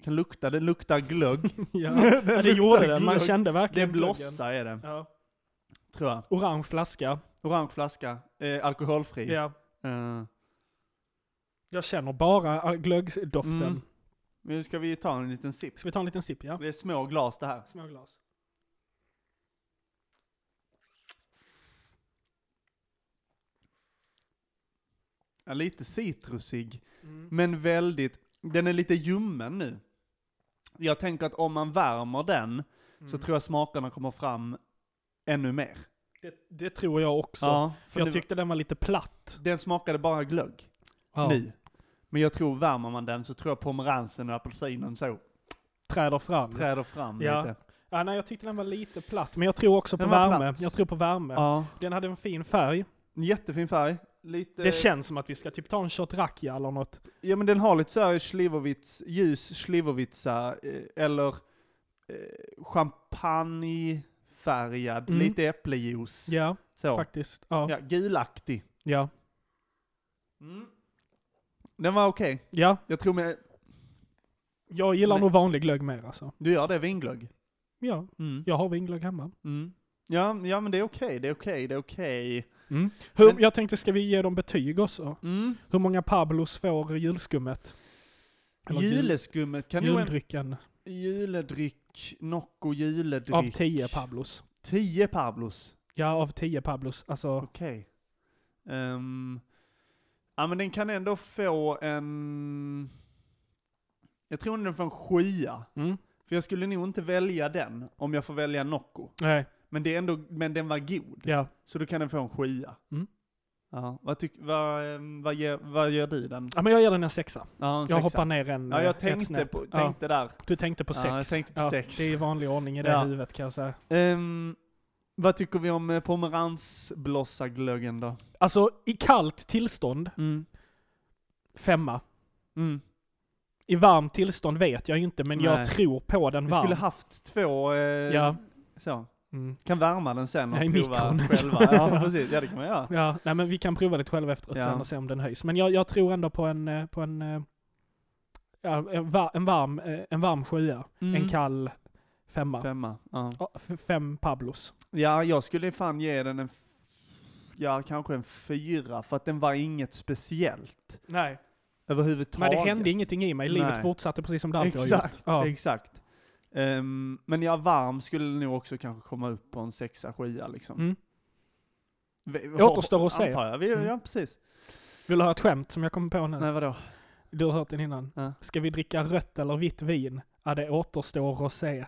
Speaker 1: kan lukta, det luktar glögg.
Speaker 2: ja. ja, det gjorde
Speaker 1: luktar
Speaker 2: den. Man
Speaker 1: glögg.
Speaker 2: kände
Speaker 1: Det är
Speaker 2: verkligen
Speaker 1: blossa är det,
Speaker 2: glöggen. Ja.
Speaker 1: tror jag.
Speaker 2: Orange flaska.
Speaker 1: Orange flaska, eh, alkoholfri.
Speaker 2: Ja.
Speaker 1: Eh,
Speaker 2: Jag känner bara äh, glöggdoften.
Speaker 1: Mm. nu ska vi ta en liten sipp.
Speaker 2: Ska vi ta en liten sipp? Ja.
Speaker 1: Det är små glas det här.
Speaker 2: Små glas.
Speaker 1: Ja, lite citrusig,
Speaker 2: Mm.
Speaker 1: men väldigt, den är lite ljummen nu. Jag tänker att om man värmer den
Speaker 2: Mm.
Speaker 1: så tror jag smakerna kommer fram ännu mer.
Speaker 2: Det, det tror jag också.
Speaker 1: för
Speaker 2: jag
Speaker 1: nu-
Speaker 2: tyckte den var lite platt.
Speaker 1: den smakade bara glögg nu. Men jag tror värmer man den så tror jag pomeransen och apelsinen så
Speaker 2: Träder fram.
Speaker 1: träder fram
Speaker 2: Ja.
Speaker 1: lite.
Speaker 2: Ja, nej, jag tyckte den var lite platt, men jag tror också på
Speaker 1: Den var
Speaker 2: värme.
Speaker 1: platt.
Speaker 2: Jag tror på värme.
Speaker 1: Ja.
Speaker 2: Den hade en fin färg.
Speaker 1: En Jättefin färg. Lite,
Speaker 2: Det känns som att vi ska typ ta en shot rakia eller något.
Speaker 1: ja men den har lite såhär Schlivovitz, ljus Schlivovica eh, eller eh, champagnefärgad,
Speaker 2: Mm.
Speaker 1: lite äppeljuice.
Speaker 2: Ja,
Speaker 1: så.
Speaker 2: faktiskt. Ja. ja.
Speaker 1: Ja, gulaktig.
Speaker 2: ja.
Speaker 1: Mm. Den var okej. Jag tror med,
Speaker 2: Jag gillar
Speaker 1: Men-
Speaker 2: nog vanlig glögg mer alltså.
Speaker 1: du gör det vinglögg?
Speaker 2: Ja,
Speaker 1: Mm.
Speaker 2: jag har vinglögg hemma.
Speaker 1: Mm. Ja, ja men det är okej, det är okej, det är okej.
Speaker 2: Mm. Hur,
Speaker 1: Men-
Speaker 2: jag tänkte, ska vi ge dem betyg också?
Speaker 1: Mm.
Speaker 2: Hur många Pablos får julskummet? Eller jul-
Speaker 1: Juleskummet kan nog en
Speaker 2: Juldrycken
Speaker 1: juledryck, Nocco juledryck.
Speaker 2: av 10 Pablos.
Speaker 1: 10 Pablos.
Speaker 2: Ja, av 10 Pablos. Alltså,
Speaker 1: Okej. Ehm, ja men den kan ändå få en... Jag tror den får en sjua.
Speaker 2: mm.
Speaker 1: För jag skulle nog inte välja den om jag får välja Nocco.
Speaker 2: Nej,
Speaker 1: Men, det är ändå, men den var god.
Speaker 2: ja.
Speaker 1: Så då kan den få en sjua.
Speaker 2: Mm.
Speaker 1: Ja, vad, tyck, vad, ehm, vad, ger, vad gör du den?
Speaker 2: ja men jag ger den en sexa.
Speaker 1: Ja, en
Speaker 2: Jag
Speaker 1: sexa.
Speaker 2: hoppar ner en
Speaker 1: Ja,
Speaker 2: eh,
Speaker 1: jag
Speaker 2: ett
Speaker 1: tänkte,
Speaker 2: snäpp.
Speaker 1: på,
Speaker 2: Ja,
Speaker 1: tänkte där.
Speaker 2: Du tänkte på
Speaker 1: Ja,
Speaker 2: sex.
Speaker 1: jag tänkte på sex.
Speaker 2: Det är i vanlig ordning i det
Speaker 1: Ja.
Speaker 2: huvudet kan jag säga.
Speaker 1: Ehm, vad tycker vi om eh, pomeransblossaglöggen då?
Speaker 2: Alltså i kallt tillstånd,
Speaker 1: Mm.
Speaker 2: femma.
Speaker 1: Mm.
Speaker 2: I varmt tillstånd vet jag ju inte, men jag
Speaker 1: Nej.
Speaker 2: tror på den
Speaker 1: Vi
Speaker 2: varm.
Speaker 1: skulle haft två, eh,
Speaker 2: Ja.
Speaker 1: så.
Speaker 2: Mm.
Speaker 1: Kan värma den sen och
Speaker 2: Ja, i
Speaker 1: prova
Speaker 2: mikron.
Speaker 1: själva. Ja, precis. Ja, det kan man göra.
Speaker 2: Ja, nej men vi kan prova det själva efteråt
Speaker 1: Ja.
Speaker 2: sen och se om den höjs. Men jag, jag tror ändå på en, eh, på en, eh, ja, en, va, en varm, eh, en varm sjua. En kall femma. Fem,
Speaker 1: Mm. Femma. Ja.
Speaker 2: fem Pablos.
Speaker 1: ja, jag skulle fan ge den en, f- ja kanske en fyra, för att den var inget speciellt
Speaker 2: Nej. Men
Speaker 1: överhuvudtaget.
Speaker 2: det hände ingenting i mig. Livet
Speaker 1: Nej.
Speaker 2: fortsatte precis som det alltid har gjort.
Speaker 1: Exakt,
Speaker 2: Ja.
Speaker 1: exakt. Ehm, men ja, varm skulle nog också kanske komma upp på en sexa, sjua liksom.
Speaker 2: Mm.
Speaker 1: Vi-
Speaker 2: Det återstår att se.
Speaker 1: Antar jag. Vi,
Speaker 2: Mm.
Speaker 1: Ja, precis.
Speaker 2: Vill du ha ett skämt som jag kom på nu?
Speaker 1: Nej, vadå?
Speaker 2: Du har hört den innan.
Speaker 1: Ja.
Speaker 2: Ska vi dricka rött eller vitt vin? Ja, det återstår att se.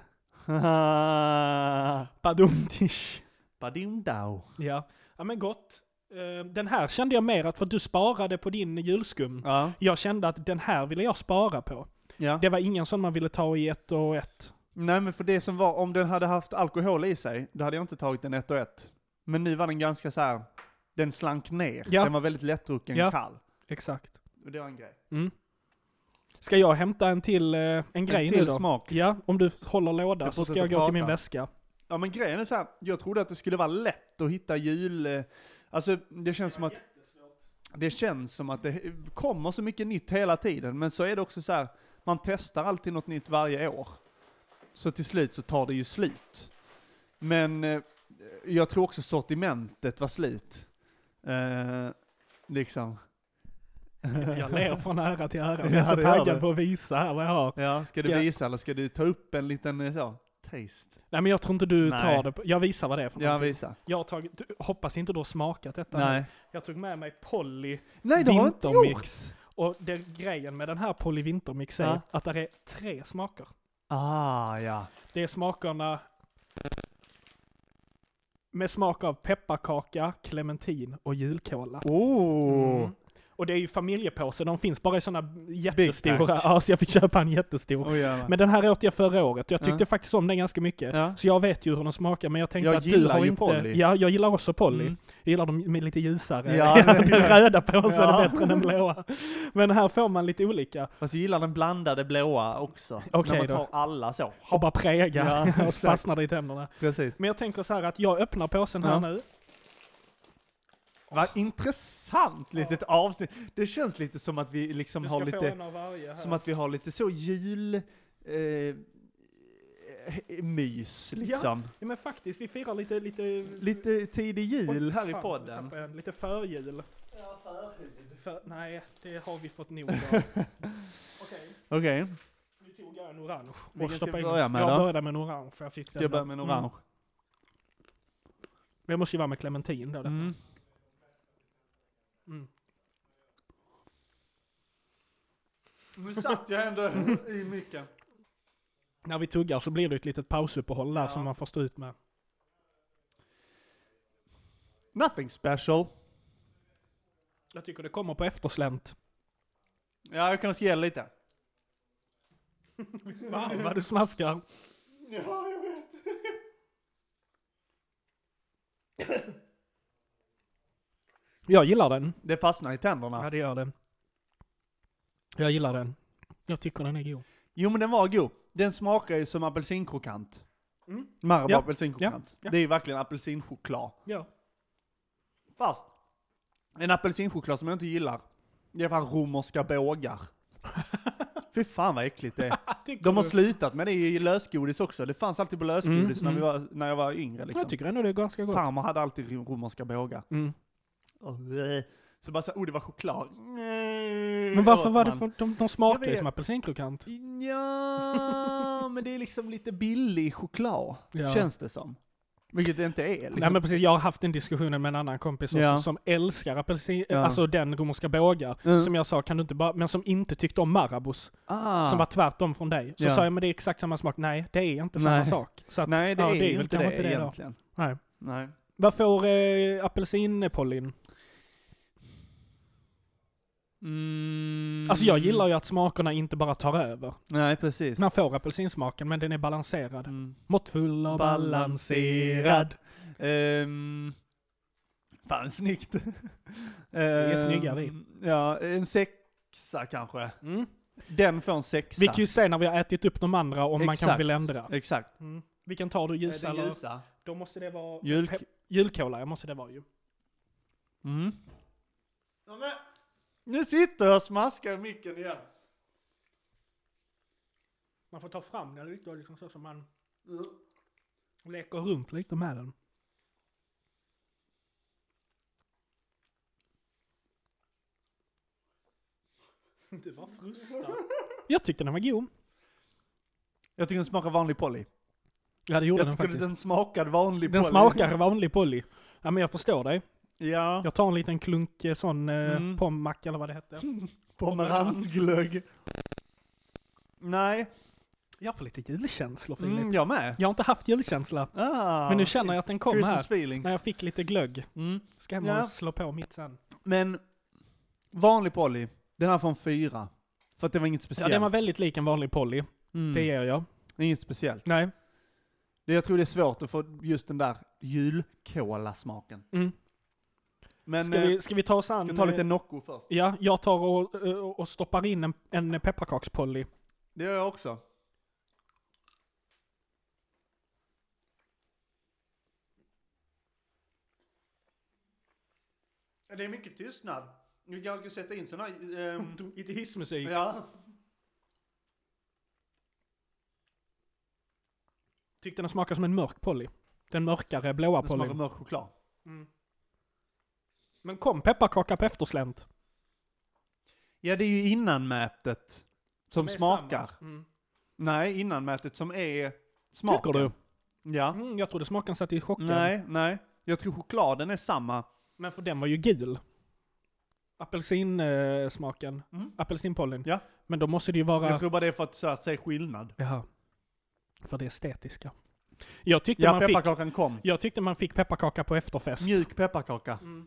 Speaker 2: Badumtish.
Speaker 1: Badimdao.
Speaker 2: Ja. ja, men gott. Eh, Den här kände jag mer att, för du sparade på din julskum.
Speaker 1: Ja.
Speaker 2: Jag kände att den här ville jag spara på.
Speaker 1: ja.
Speaker 2: Det var ingen som man ville ta i ett och ett.
Speaker 1: Nej, men för det som var, om den hade haft alkohol i sig, då hade jag inte tagit den ett och ett. Men nu var den ganska så här. den slank ner.
Speaker 2: Ja.
Speaker 1: Den var väldigt lättdrucken
Speaker 2: Ja.
Speaker 1: kall.
Speaker 2: Exakt.
Speaker 1: Och det var en grej.
Speaker 2: Ska jag hämta en till, eh, en grej
Speaker 1: en
Speaker 2: nu
Speaker 1: till
Speaker 2: då?
Speaker 1: smak.
Speaker 2: Ja, om du håller låda
Speaker 1: Jag
Speaker 2: så ska
Speaker 1: fortsätter
Speaker 2: jag gå till min
Speaker 1: prata.
Speaker 2: väska.
Speaker 1: Ja men grejen är så här, jag trodde att det skulle vara lätt att hitta jul... eh, Alltså det känns som att... Det känns som att det kommer så mycket nytt hela tiden, men så är det också så här, man testar alltid något nytt varje år. Så till slut så tar det ju slut. Men eh, jag tror också sortimentet var slut. Eh, liksom.
Speaker 2: Jag ler från ära till ära.
Speaker 1: Ja,
Speaker 2: Jag är så
Speaker 1: det gör
Speaker 2: taggad
Speaker 1: du.
Speaker 2: på att visa här vad jag har.
Speaker 1: Ja, ska du
Speaker 2: Ska-
Speaker 1: visa eller ska du ta upp en liten eh, så, taste?
Speaker 2: Nej men jag tror inte du
Speaker 1: Nej.
Speaker 2: tar det. på- Jag visar vad det är för
Speaker 1: Ja,
Speaker 2: någonting.
Speaker 1: visa.
Speaker 2: Jag har tagit, du, hoppas inte du har smakat detta.
Speaker 1: Nej.
Speaker 2: Jag tog med mig Polly
Speaker 1: Nej, det har jag inte gjort!
Speaker 2: Vintermix. och det, grejen med den här Polly Vintermix är
Speaker 1: Ja.
Speaker 2: att det är tre smaker.
Speaker 1: Ah, ja.
Speaker 2: Det är smakerna med smak av pepparkaka, clementin och julkola.
Speaker 1: Oh!
Speaker 2: Mm. Och det är ju familjepåse, de finns bara i sådana jättestora.
Speaker 1: pack.
Speaker 2: Ja, så jag fick köpa en jättestor.
Speaker 1: Oj, jävlar.
Speaker 2: Men den här åt jag förra året, jag tyckte
Speaker 1: Ja.
Speaker 2: faktiskt om den ganska mycket.
Speaker 1: ja.
Speaker 2: Så jag vet ju hur den smakar, men jag tänkte
Speaker 1: Jag
Speaker 2: att du
Speaker 1: gillar
Speaker 2: har
Speaker 1: ju
Speaker 2: inte...
Speaker 1: Polly.
Speaker 2: Ja, jag gillar också Polly.
Speaker 1: Mm.
Speaker 2: Jag gillar dem med lite ljusare.
Speaker 1: Ja,
Speaker 2: den
Speaker 1: det-
Speaker 2: röda påsen
Speaker 1: Ja.
Speaker 2: är bättre än den blåa. Men här får man lite olika.
Speaker 1: Fast jag gillar den blandade blåa också.
Speaker 2: Okej
Speaker 1: När man
Speaker 2: då.
Speaker 1: tar alla så.
Speaker 2: Har bara
Speaker 1: Ja,
Speaker 2: präga och
Speaker 1: exakt.
Speaker 2: fastnar i tänderna.
Speaker 1: Precis.
Speaker 2: Men jag tänker så här att jag öppnar påsen här
Speaker 1: Ja.
Speaker 2: nu.
Speaker 1: Vad intressant litet avsnitt. Det känns lite som att vi liksom
Speaker 2: Du
Speaker 1: har
Speaker 2: ska få
Speaker 1: lite,
Speaker 2: en av varje här.
Speaker 1: som att vi har lite så jul, eh, mys liksom.
Speaker 2: Ja, men faktiskt, vi firar lite... lite...
Speaker 1: Lite tidig jul här
Speaker 2: Oj,
Speaker 1: i
Speaker 2: fan, nu
Speaker 1: podden.
Speaker 2: tappade jag en. Lite förjul. För, nej, det har vi fått nog av. Okej,
Speaker 1: Okej,
Speaker 2: nu tog jag en orange.
Speaker 1: Vilken
Speaker 2: och
Speaker 1: ska
Speaker 2: stoppade
Speaker 1: vi
Speaker 2: in-
Speaker 1: börja med
Speaker 2: jag
Speaker 1: då?
Speaker 2: började med en orange. för Jag, fick
Speaker 1: ska
Speaker 2: den
Speaker 1: jag
Speaker 2: där.
Speaker 1: börja med en
Speaker 2: Mm.
Speaker 1: orange?
Speaker 2: Men jag måste ju vara med clementin då.
Speaker 1: Mm.
Speaker 2: Mm.
Speaker 1: Nu satt jag ändå i micken.
Speaker 2: När vi tuggar så blir det ett litet pausuppehåll där
Speaker 1: Ja.
Speaker 2: som man får stå ut med.
Speaker 1: Nothing special.
Speaker 2: Jag tycker det kommer på efterslänt.
Speaker 1: Ja, jag kanske ger lite.
Speaker 2: Va? Vad du smaskar.
Speaker 1: Ja, jag vet.
Speaker 2: Jag gillar den.
Speaker 1: Det fastnar i tänderna.
Speaker 2: Ja, det gör den. Jag gillar den. Jag tycker den är god.
Speaker 1: Jo men den var god. Den smakar ju som apelsinkrokant.
Speaker 2: Mm.
Speaker 1: Marabou
Speaker 2: Ja.
Speaker 1: apelsinkrokant.
Speaker 2: Ja. Ja.
Speaker 1: Det är ju verkligen apelsinchoklad.
Speaker 2: Ja.
Speaker 1: Fast, en apelsinchoklad som jag inte gillar, det är fan romerska bågar. Fy fan vad äckligt det är. De har slutat med det i lösgodis också. Det fanns alltid på lösgodis när,
Speaker 2: Mm,
Speaker 1: vi var, när jag var yngre
Speaker 2: Jag
Speaker 1: liksom.
Speaker 2: tycker ändå det är ganska gott.
Speaker 1: Farmor hade alltid rom- romerska bågar.
Speaker 2: Mm.
Speaker 1: Och, eh, Så bara såhär, oh det var choklad.
Speaker 2: Men varför var det för, de, de smakar
Speaker 1: Jag
Speaker 2: ju
Speaker 1: vet.
Speaker 2: som apelsinkrokant.
Speaker 1: Ja, men det är liksom lite billig choklad.
Speaker 2: Ja.
Speaker 1: Känns det som. Vilket det inte är. Liksom.
Speaker 2: Nej men precis, jag har haft den diskussionen med en annan kompis också,
Speaker 1: Ja.
Speaker 2: som älskar apelsin,
Speaker 1: Ja.
Speaker 2: alltså den romerska bågar.
Speaker 1: Mm.
Speaker 2: Som jag sa, kan du inte bara, men som inte tyckte om Marabous.
Speaker 1: ah,
Speaker 2: Som var tvärtom från dig. Så
Speaker 1: Ja.
Speaker 2: sa jag, men det är exakt samma smak. Nej, det är inte samma
Speaker 1: Nej.
Speaker 2: sak. Så att,
Speaker 1: nej, det
Speaker 2: ja,
Speaker 1: är ju
Speaker 2: väl
Speaker 1: inte det,
Speaker 2: kanske då.
Speaker 1: egentligen.
Speaker 2: Nej.
Speaker 1: Nej.
Speaker 2: Vad får eh, apelsinpollin?
Speaker 1: Mm.
Speaker 2: Alltså jag gillar ju att smakerna inte bara tar över.
Speaker 1: Nej, precis.
Speaker 2: Man får apelsinsmaken, men den är balanserad.
Speaker 1: Mm.
Speaker 2: Måttfull och balanserad.
Speaker 1: Ehm, fan, snyggt. Vi
Speaker 2: är snygga, vi.
Speaker 1: Ja, en sexa kanske.
Speaker 2: Mm.
Speaker 1: Den får en sexa.
Speaker 2: Vi kan ju se när vi har ätit upp de andra om man kanske
Speaker 1: Exakt.
Speaker 2: vill ändra.
Speaker 1: Exakt.
Speaker 2: Mm. Vilken tar du? Ljusa
Speaker 1: Är det
Speaker 2: eller?
Speaker 1: ljusa?
Speaker 2: Då måste det vara...
Speaker 1: Julk...
Speaker 2: Pe- Julkola, jag måste det vara ju.
Speaker 1: Mm. Ja, men, nu sitter jag och smaskar i micken igen.
Speaker 2: Man får ta fram den lite och liksom så som man leker runt lite med den. Du var frustad. Jag tyckte den var god.
Speaker 1: Jag tycker den smakar vanlig Polly.
Speaker 2: Ja det gjorde
Speaker 1: Jag
Speaker 2: den
Speaker 1: tycker
Speaker 2: faktiskt. Den,
Speaker 1: den smakar vanlig Polly.
Speaker 2: smakar vanlig Polly. Ja men jag förstår dig.
Speaker 1: Ja.
Speaker 2: Jag tar en liten klunk eh, sån eh,
Speaker 1: Mm.
Speaker 2: pommack eller vad det hette.
Speaker 1: Pomeransglögg. Nej.
Speaker 2: Jag får lite julkänslor Filip.
Speaker 1: Mm, jag med.
Speaker 2: Jag har inte haft julkänsla.
Speaker 1: Ah,
Speaker 2: Men nu känner jag att den kom
Speaker 1: Christmas
Speaker 2: här.
Speaker 1: feelings.
Speaker 2: När jag fick lite glögg.
Speaker 1: Mm.
Speaker 2: Ska hem och
Speaker 1: Ja.
Speaker 2: slå på mitt sen.
Speaker 1: Men vanlig Polly, den här får en fyra. För att det var inget
Speaker 2: Ja,
Speaker 1: speciellt.
Speaker 2: den var väldigt lik en vanlig Polly.
Speaker 1: Mm.
Speaker 2: Det ger jag.
Speaker 1: Inget speciellt.
Speaker 2: Nej.
Speaker 1: Det, jag tror det är svårt att få just den där julkola-smaken.
Speaker 2: Mm.
Speaker 1: Men
Speaker 2: Ska,
Speaker 1: eh,
Speaker 2: vi, ska vi ta oss an...
Speaker 1: ska ta lite
Speaker 2: eh,
Speaker 1: Nocco först.
Speaker 2: Ja, jag tar och, eh, och stoppar in en, en pepparkakspolly.
Speaker 1: Det gör jag också. Det är mycket tystnad. Vi kanske sätta in sådana här... ehm,
Speaker 2: Lite hissmusik.
Speaker 1: ja.
Speaker 2: Tyckte den smakade som en mörk polly. Den mörkare blåa
Speaker 1: Det smakar
Speaker 2: pollyn.
Speaker 1: mörk choklad.
Speaker 2: Mm. Men kom pepparkaka på efterslänt.
Speaker 1: Ja, det är ju innanmätet som
Speaker 2: Det är
Speaker 1: smakar.
Speaker 2: samma. Mm.
Speaker 1: Nej, innanmätet som är
Speaker 2: Tycker
Speaker 1: smaken.
Speaker 2: du?
Speaker 1: Ja.
Speaker 2: Mm, jag trodde smaken satt i chocken.
Speaker 1: Nej, nej. Jag tror chokladen är samma.
Speaker 2: Men för den var ju gul. Apelsinsmaken.
Speaker 1: Mm.
Speaker 2: Apelsinpollyn.
Speaker 1: Ja.
Speaker 2: Men då måste det ju vara...
Speaker 1: Jag tror bara det är för att så här, se skillnad.
Speaker 2: Jaha. För det estetiska. Jag tyckte,
Speaker 1: Ja,
Speaker 2: man fick,
Speaker 1: pepparkakan kom.
Speaker 2: jag tyckte man fick pepparkaka på efterfest.
Speaker 1: Mjuk pepparkaka.
Speaker 2: Mm.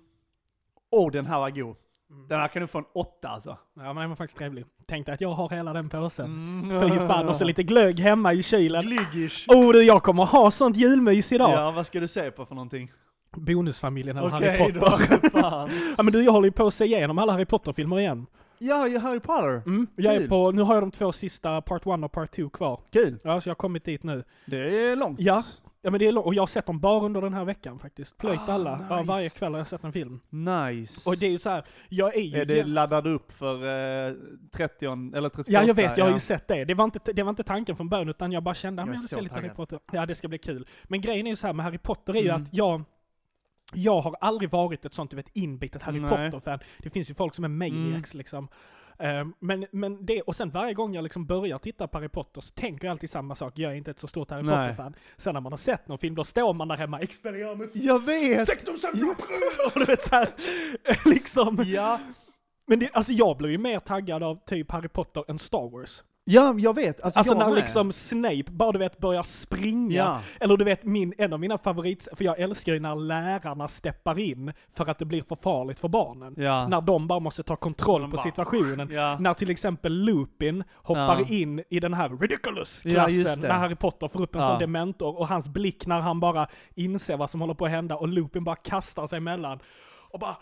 Speaker 1: Åh, den här var god.
Speaker 2: Mm.
Speaker 1: Den här kan du få en åtta alltså.
Speaker 2: Ja men den var faktiskt trevlig. Tänkte att jag har hela den påsen.
Speaker 1: Mm.
Speaker 2: Fy fan, och så lite glögg hemma i kylen.
Speaker 1: Glyggish.
Speaker 2: Oh du, jag kommer ha sånt julmys idag!
Speaker 1: Ja, vad ska du se på för någonting?
Speaker 2: Bonusfamiljen eller Harry
Speaker 1: Okej
Speaker 2: Potter.
Speaker 1: då, fan.
Speaker 2: Ja men du, jag håller ju på att se igenom alla Harry Potter-filmer igen.
Speaker 1: Ja, jag är Harry Potter.
Speaker 2: Mm, jag är
Speaker 1: Kul.
Speaker 2: på, nu har jag de två sista, Part 1 och Part 2 kvar.
Speaker 1: Kul.
Speaker 2: Ja, så jag har kommit dit nu.
Speaker 1: Det är långt.
Speaker 2: Ja. Ja men det är långt, och jag har sett dem bara under den här veckan faktiskt. Plöjt
Speaker 1: Ah,
Speaker 2: alla. Ja,
Speaker 1: nice.
Speaker 2: varje kväll har jag sett en film.
Speaker 1: Nice.
Speaker 2: Och det är ju så här, jag är ju...
Speaker 1: Är det laddad upp för eh, 30 eller 31?
Speaker 2: Ja, jag vet. Jag har ju sett det. Det var inte, det var inte tanken från början, utan jag bara kände "Ah, att
Speaker 1: Jag
Speaker 2: jag
Speaker 1: är
Speaker 2: vill
Speaker 1: så
Speaker 2: se lite Harry
Speaker 1: taggad.
Speaker 2: Potter. Ja, det ska bli kul. Men grejen är ju så här med Harry Potter är ju
Speaker 1: Mm.
Speaker 2: att jag, jag har aldrig varit ett sånt, du vet, inbitet Harry
Speaker 1: Nej. Mm.
Speaker 2: Potter-fan. Det finns ju folk som är maniacs liksom. Ehm, men, men det, och sen varje gång jag liksom börjar titta på Harry Potter så tänker jag alltid samma sak. Jag är inte ett så stort Harry
Speaker 1: Nej.
Speaker 2: Potter-fan. Sen när man har sett någon film, då står man där hemma, experiment,
Speaker 1: Jag vet!
Speaker 2: 16 och du vet såhär, liksom.
Speaker 1: Ja,
Speaker 2: Men det, alltså jag blir ju mer taggad av typ Harry Potter än Star Wars.
Speaker 1: ja jag vet. Alltså,
Speaker 2: Alltså
Speaker 1: jag
Speaker 2: när
Speaker 1: med.
Speaker 2: liksom Snape bara du vet börjar springa.
Speaker 1: Ja.
Speaker 2: Eller du vet, min, en av mina favorit... För jag älskar ju när lärarna steppar in för att det blir för farligt för barnen.
Speaker 1: Ja.
Speaker 2: När de bara måste ta kontroll
Speaker 1: De
Speaker 2: på
Speaker 1: bara-
Speaker 2: situationen.
Speaker 1: Ja.
Speaker 2: När till exempel Lupin hoppar
Speaker 1: Ja.
Speaker 2: in i den här
Speaker 1: Ja,
Speaker 2: ridiculous-klassen.
Speaker 1: just det.
Speaker 2: när Harry Potter får upp en
Speaker 1: Ja.
Speaker 2: sån dementor och hans blick när han bara inser vad som håller på att hända och Lupin bara kastar sig emellan. Och bara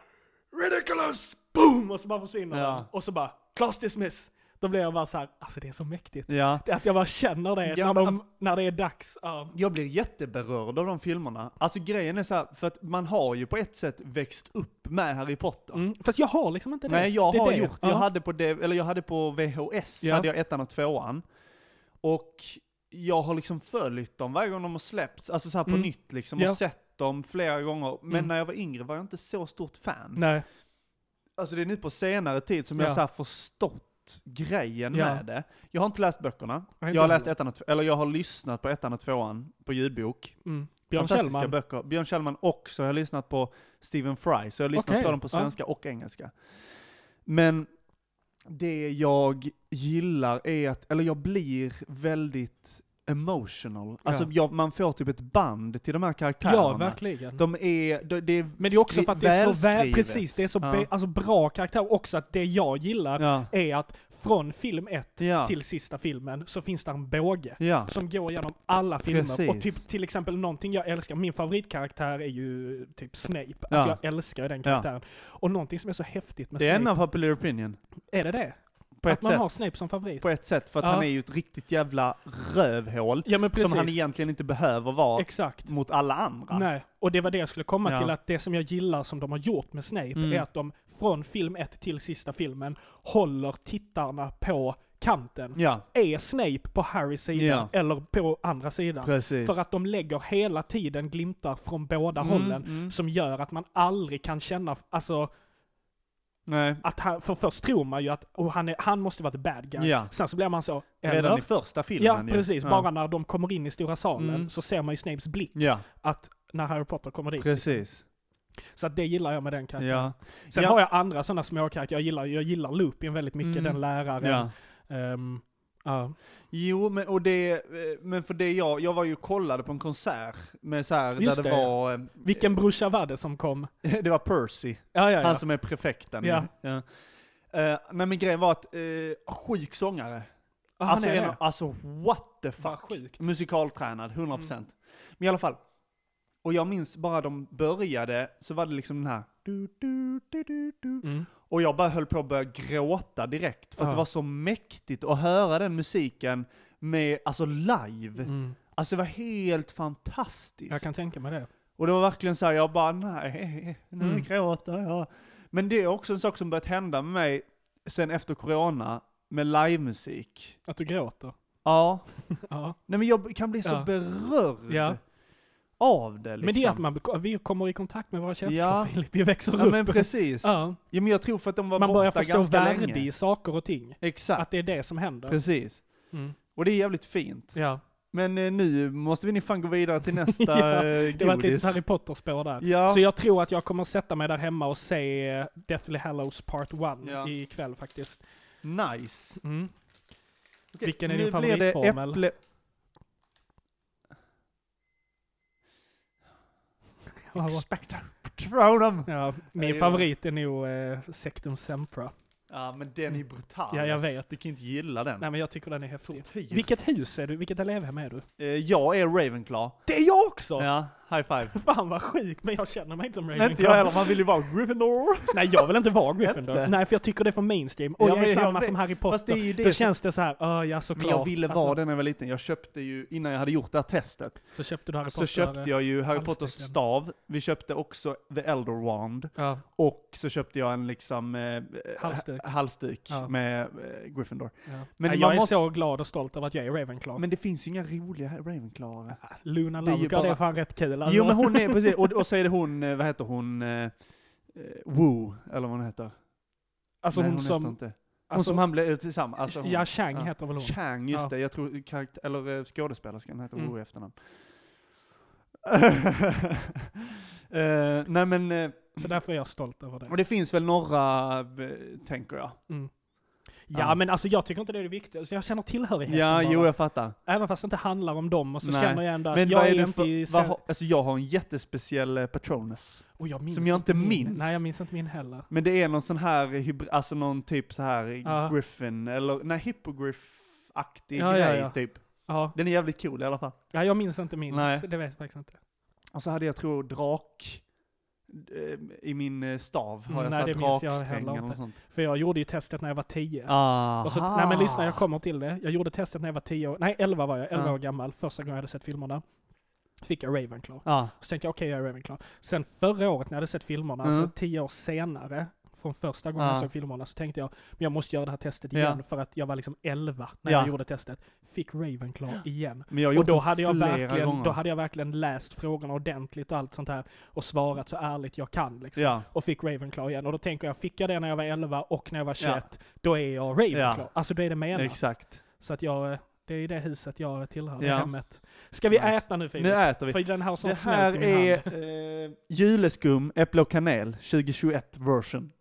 Speaker 2: ridiculous! Boom! Och så bara försvinner
Speaker 1: Ja.
Speaker 2: han. Och så bara class dismiss! Då blir jag bara så här, alltså det är så mäktigt.
Speaker 1: Ja.
Speaker 2: Det är Att jag bara känner det
Speaker 1: Ja,
Speaker 2: när,
Speaker 1: men Mm,
Speaker 2: de, när det är dags. Ja.
Speaker 1: Jag blir jätteberörd av de filmerna. Alltså grejen är så här, för att man har ju på ett sätt växt upp med Harry Potter.
Speaker 2: Mm. Fast jag har liksom inte det.
Speaker 1: Nej, jag
Speaker 2: det är
Speaker 1: har
Speaker 2: det.
Speaker 1: gjort.
Speaker 2: Ja.
Speaker 1: Jag, hade på DV eller jag hade på VHS,
Speaker 2: Ja.
Speaker 1: hade jag ettan och tvåan. Och jag har liksom följt dem varje gång de har släppts, alltså så här på
Speaker 2: Mm.
Speaker 1: nytt liksom,
Speaker 2: Ja.
Speaker 1: och sett dem flera gånger. Men
Speaker 2: Mm.
Speaker 1: när jag var yngre var jag inte så stort fan.
Speaker 2: Nej.
Speaker 1: Alltså det är nu på senare tid som
Speaker 2: Ja.
Speaker 1: jag så här förstått förstått grejen
Speaker 2: Ja.
Speaker 1: med det. Jag har inte läst böckerna.
Speaker 2: Nej, inte
Speaker 1: jag har
Speaker 2: jag
Speaker 1: läst ettan och tv- eller jag har lyssnat på ettan och tvåan på ljudbok.
Speaker 2: Mm. Björn
Speaker 1: Fantastiska
Speaker 2: Kjellman.
Speaker 1: böcker. Björn Kjellman också. Jag har lyssnat på Stephen Fry, så jag har lyssnat
Speaker 2: Okej,
Speaker 1: på dem på
Speaker 2: ja.
Speaker 1: svenska och engelska. Men det jag gillar är att, eller jag blir väldigt emotional. Alltså
Speaker 2: Ja.
Speaker 1: jag, man får typ ett band till de här karaktärerna.
Speaker 2: Ja, verkligen.
Speaker 1: De är, de, det är
Speaker 2: Men det är också
Speaker 1: skri-
Speaker 2: för att det är så väl,
Speaker 1: välskrivet.
Speaker 2: precis, det är så
Speaker 1: Ja.
Speaker 2: be, alltså bra karaktär också att det jag gillar
Speaker 1: Ja.
Speaker 2: är att från film 1
Speaker 1: Ja.
Speaker 2: till sista filmen så finns där en båge.
Speaker 1: Ja.
Speaker 2: Som går igenom alla filmer.
Speaker 1: Precis.
Speaker 2: Och typ, till exempel någonting jag älskar, min favoritkaraktär är ju typ Snape. Alltså
Speaker 1: Ja.
Speaker 2: jag älskar ju den
Speaker 1: Ja.
Speaker 2: karaktären. Och någonting som är så häftigt med
Speaker 1: Det är en
Speaker 2: Snape,
Speaker 1: av Popular Opinion.
Speaker 2: är det det?
Speaker 1: På
Speaker 2: Att
Speaker 1: ett,
Speaker 2: man har
Speaker 1: sätt.
Speaker 2: Snape som favorit?
Speaker 1: på ett sätt, för att
Speaker 2: Ja.
Speaker 1: han är ju ett riktigt jävla rövhål.
Speaker 2: Ja men precis.
Speaker 1: Som han egentligen inte behöver vara
Speaker 2: Exakt.
Speaker 1: mot alla andra.
Speaker 2: Nej, och det var det jag skulle komma
Speaker 1: Ja.
Speaker 2: till, att det som jag gillar som de har gjort med Snape
Speaker 1: Mm.
Speaker 2: är att de från film 1 till sista filmen håller tittarna på kanten.
Speaker 1: Ja,
Speaker 2: Är Snape på Harrys sida
Speaker 1: Ja.
Speaker 2: eller på andra sidan?
Speaker 1: precis.
Speaker 2: För att de lägger hela tiden glimtar från båda
Speaker 1: Mm,
Speaker 2: hållen
Speaker 1: mm.
Speaker 2: som gör att man aldrig kan känna, alltså,
Speaker 1: Nej.
Speaker 2: att han, för först tror man ju att oh, han, är, han måste vara ett bad guy.
Speaker 1: Ja.
Speaker 2: Sen så blir man så,
Speaker 1: Redan
Speaker 2: eller?
Speaker 1: i första
Speaker 2: Ja,
Speaker 1: filmen ju.
Speaker 2: precis. Bara när de kommer in i stora salen
Speaker 1: Mm.
Speaker 2: så ser man ju Snapes blick
Speaker 1: Ja,
Speaker 2: att när Harry Potter kommer dit.
Speaker 1: precis.
Speaker 2: Så att det gillar jag med den karaktären.
Speaker 1: Ja.
Speaker 2: Sen
Speaker 1: Ja.
Speaker 2: har jag andra sådana små karaktärer. Jag gillar, jag gillar Lupin väldigt mycket,
Speaker 1: Mm.
Speaker 2: den läraren.
Speaker 1: ja.
Speaker 2: Ehm, ja.
Speaker 1: Jo, men, och det, eh, men för det jag, jag var ju och kollade på en konsert med så här,
Speaker 2: Just
Speaker 1: där det,
Speaker 2: det, ja.
Speaker 1: var, eh,
Speaker 2: Vilken brorsa var det som kom?
Speaker 1: det var Percy.
Speaker 2: Ja, ja, ja.
Speaker 1: Han som är prefekten.
Speaker 2: Ja.
Speaker 1: Ja. Eh, nej men grejen var att, uh, sjuk sångare.
Speaker 2: Ah, han
Speaker 1: alltså,
Speaker 2: är
Speaker 1: en,
Speaker 2: det.
Speaker 1: alltså what the
Speaker 2: Vad
Speaker 1: fuck.
Speaker 2: sjukt. Mm.
Speaker 1: Musikaltränad, 100%. Men i alla fall. Och jag minns bara de började, så var det liksom den här. Du, du, du, du, du.
Speaker 2: Mm.
Speaker 1: Och jag bara höll på att börja gråta direkt. För att
Speaker 2: Ja.
Speaker 1: det var så mäktigt att höra den musiken med, alltså live.
Speaker 2: Mm.
Speaker 1: Alltså det var helt fantastiskt.
Speaker 2: Jag kan tänka mig det.
Speaker 1: Och det var verkligen så här, jag bara nej, nu
Speaker 2: Mm.
Speaker 1: gråter jag. Men det är också en sak som börjat hända med mig sen efter corona, med livemusik.
Speaker 2: Att du gråter.
Speaker 1: Ja,
Speaker 2: Ja.
Speaker 1: nej men jag kan bli så
Speaker 2: Ja.
Speaker 1: berörd
Speaker 2: Ja.
Speaker 1: av det liksom.
Speaker 2: Men det är att man, vi kommer i kontakt med våra känslor
Speaker 1: Ja.
Speaker 2: Filip, vi växer
Speaker 1: Ja
Speaker 2: upp.
Speaker 1: men precis. Ja.
Speaker 2: Ja.
Speaker 1: men jag tror för att de var
Speaker 2: Man
Speaker 1: borta
Speaker 2: börjar förstå
Speaker 1: ganska
Speaker 2: värde
Speaker 1: länge.
Speaker 2: i saker och ting.
Speaker 1: Exakt,
Speaker 2: Att det är det som händer.
Speaker 1: precis.
Speaker 2: Mm.
Speaker 1: Och det är jävligt fint.
Speaker 2: Ja.
Speaker 1: Men eh, nu måste vi nu fan gå vidare till nästa
Speaker 2: Ja,
Speaker 1: eh,
Speaker 2: Det var ett
Speaker 1: godis.
Speaker 2: litet Harry Potter-spår där.
Speaker 1: Ja,
Speaker 2: Så jag tror att jag kommer sätta mig där hemma och se eh, Deathly Hallows Part 1
Speaker 1: Ja.
Speaker 2: ikväll faktiskt.
Speaker 1: nice.
Speaker 2: Mm.
Speaker 1: Okej,
Speaker 2: Vilken är
Speaker 1: nu
Speaker 2: din
Speaker 1: blir det
Speaker 2: favoritformel?
Speaker 1: äpple-
Speaker 2: Ja, vad-
Speaker 1: Expecto Patronum!
Speaker 2: Ja,
Speaker 1: Jag
Speaker 2: min
Speaker 1: gillar
Speaker 2: favorit är nog eh, Sectum Sempra.
Speaker 1: Ja men den är brutal.
Speaker 2: Mm. Ja, jag
Speaker 1: alltså.
Speaker 2: vet.
Speaker 1: Du kan inte gilla den.
Speaker 2: Nej men jag tycker den är häftig.
Speaker 1: Tortyr.
Speaker 2: Vilket hus är du? Vilket elevhem är du?
Speaker 1: Eh, jag är Ravenclaw.
Speaker 2: Det är jag också!
Speaker 1: Ja, high five.
Speaker 2: Fan vad sjukt, men jag känner mig inte som
Speaker 1: Men
Speaker 2: Ravenclaw.
Speaker 1: inte jag heller, man vill ju vara Gryffindor.
Speaker 2: Nej jag vill inte vara Gryffindor.
Speaker 1: Inte?
Speaker 2: Nej för jag tycker det är för mainstream. Och
Speaker 1: Ja,
Speaker 2: jag
Speaker 1: men
Speaker 2: är
Speaker 1: jag
Speaker 2: samma
Speaker 1: vet.
Speaker 2: som Harry
Speaker 1: Fast det är
Speaker 2: Potter.
Speaker 1: ju det
Speaker 2: Då
Speaker 1: som-
Speaker 2: känns det så här, "Ah, ja såklart.
Speaker 1: Men jag ville vara
Speaker 2: Alltså,
Speaker 1: det när jag var liten. Jag köpte ju, innan jag hade gjort det här testet,
Speaker 2: Så köpte du Harry Potter.
Speaker 1: så köpte jag ju Harry Potters
Speaker 2: halsduken.
Speaker 1: stav. Vi köpte också The Elder Wand.
Speaker 2: Ja.
Speaker 1: Och så köpte jag en liksom eh,
Speaker 2: Halsduk.
Speaker 1: ha- halsduk
Speaker 2: Ja.
Speaker 1: med eh, Gryffindor.
Speaker 2: Ja.
Speaker 1: Men
Speaker 2: Men
Speaker 1: man
Speaker 2: Nej, jag är
Speaker 1: måste-
Speaker 2: så glad och stolt över att jag är Ravenclaw.
Speaker 1: Men det finns ju inga roliga Ravenclaware.
Speaker 2: Ah, Luna
Speaker 1: Det är ju
Speaker 2: Lovegood
Speaker 1: bara-
Speaker 2: är fan rätt kul alltså.
Speaker 1: Jo men hon är precis, och, och så är det hon, eh, vad heter hon, eh, eh, Wu, eller vad hon heter.
Speaker 2: Alltså
Speaker 1: Nej,
Speaker 2: hon,
Speaker 1: heter
Speaker 2: som...
Speaker 1: inte. Hon
Speaker 2: alltså,
Speaker 1: som han blev tillsammans, alltså hon,
Speaker 2: Ja, Chang
Speaker 1: ja.
Speaker 2: heter väl hon?
Speaker 1: Chang, just
Speaker 2: Ja.
Speaker 1: det. Jag tror karaktär, eller eh, skådespelerskan heter
Speaker 2: Mm.
Speaker 1: Wu i efternamn. Eh, nej men, eh,
Speaker 2: Så därför är jag stolt över det.
Speaker 1: och det finns väl några, eh, tänker jag.
Speaker 2: Ja,
Speaker 1: Ja.
Speaker 2: men alltså jag tycker inte det är det viktiga. Så jag känner tillhörigheten
Speaker 1: Ja,
Speaker 2: bara.
Speaker 1: jo jag fattar.
Speaker 2: Även fast det inte handlar om dem och så
Speaker 1: Nej.
Speaker 2: känner jag ändå att
Speaker 1: Men
Speaker 2: jag
Speaker 1: vad
Speaker 2: är,
Speaker 1: är det
Speaker 2: inte i...
Speaker 1: för,
Speaker 2: Sen...
Speaker 1: vad, har- alltså jag har en jättespeciell eh, Patronus.
Speaker 2: Och jag minns
Speaker 1: som jag inte
Speaker 2: min.
Speaker 1: minns.
Speaker 2: Nej, jag minns inte min heller.
Speaker 1: Men det är någon sån här, hybr- alltså någon typ så här
Speaker 2: Ja.
Speaker 1: griffin, eller nej hippogriff-aktig
Speaker 2: Ja,
Speaker 1: grej
Speaker 2: ja, ja.
Speaker 1: typ.
Speaker 2: Ja,
Speaker 1: Den är jävligt cool i alla fall.
Speaker 2: ja jag minns inte min.
Speaker 1: Nej.
Speaker 2: Så det vet jag faktiskt inte.
Speaker 1: Och så hade jag tror drak eh, i min eh, stav. Har
Speaker 2: Mm,
Speaker 1: jag
Speaker 2: nej, det
Speaker 1: såhär
Speaker 2: minns jag
Speaker 1: draksträng
Speaker 2: heller
Speaker 1: eller
Speaker 2: inte.
Speaker 1: något sånt.
Speaker 2: För jag gjorde ju testet när jag var 10.
Speaker 1: Aha.
Speaker 2: Och så, nej men lyssna, jag kommer till det. Jag gjorde testet när jag var 10 år, nej 11 var jag, 11
Speaker 1: Ja.
Speaker 2: år gammal, första gången jag hade sett filmerna. Fick jag Ravenclaw.
Speaker 1: Ja,
Speaker 2: Så tänkte jag okej, jag är Ravenclaw. Sen förra året när jag hade sett filmerna,
Speaker 1: Mm.
Speaker 2: alltså 10 år senare, från första gången jag
Speaker 1: Ja.
Speaker 2: såg filmerna så tänkte jag, men jag måste göra det här testet
Speaker 1: Ja.
Speaker 2: igen för att jag var liksom 11 när
Speaker 1: Ja.
Speaker 2: jag gjorde testet. Fick Ravenclaw igen.
Speaker 1: Men jag har
Speaker 2: Och
Speaker 1: gjort
Speaker 2: då
Speaker 1: det
Speaker 2: hade, jag
Speaker 1: flera
Speaker 2: verkligen,
Speaker 1: gånger.
Speaker 2: då hade jag verkligen läst frågorna ordentligt och allt sånt här och svarat så ärligt jag kan liksom.
Speaker 1: Ja,
Speaker 2: Och fick Ravenclaw igen. Och då tänker jag, fick jag det när jag var 11 och när jag var 21, då är jag Ravenclaw.
Speaker 1: Ja.
Speaker 2: Alltså då är det menat.
Speaker 1: exakt.
Speaker 2: Så att jag, eh, det är det huset jag tillhör, det
Speaker 1: Ja.
Speaker 2: hemmet. Ska vi
Speaker 1: Nice.
Speaker 2: äta nu Filip?
Speaker 1: Nu äter vi.
Speaker 2: För den här sånt
Speaker 1: Det
Speaker 2: smält
Speaker 1: här
Speaker 2: i min hand.
Speaker 1: är eh, juleskum, äpple och kanel 2021 version.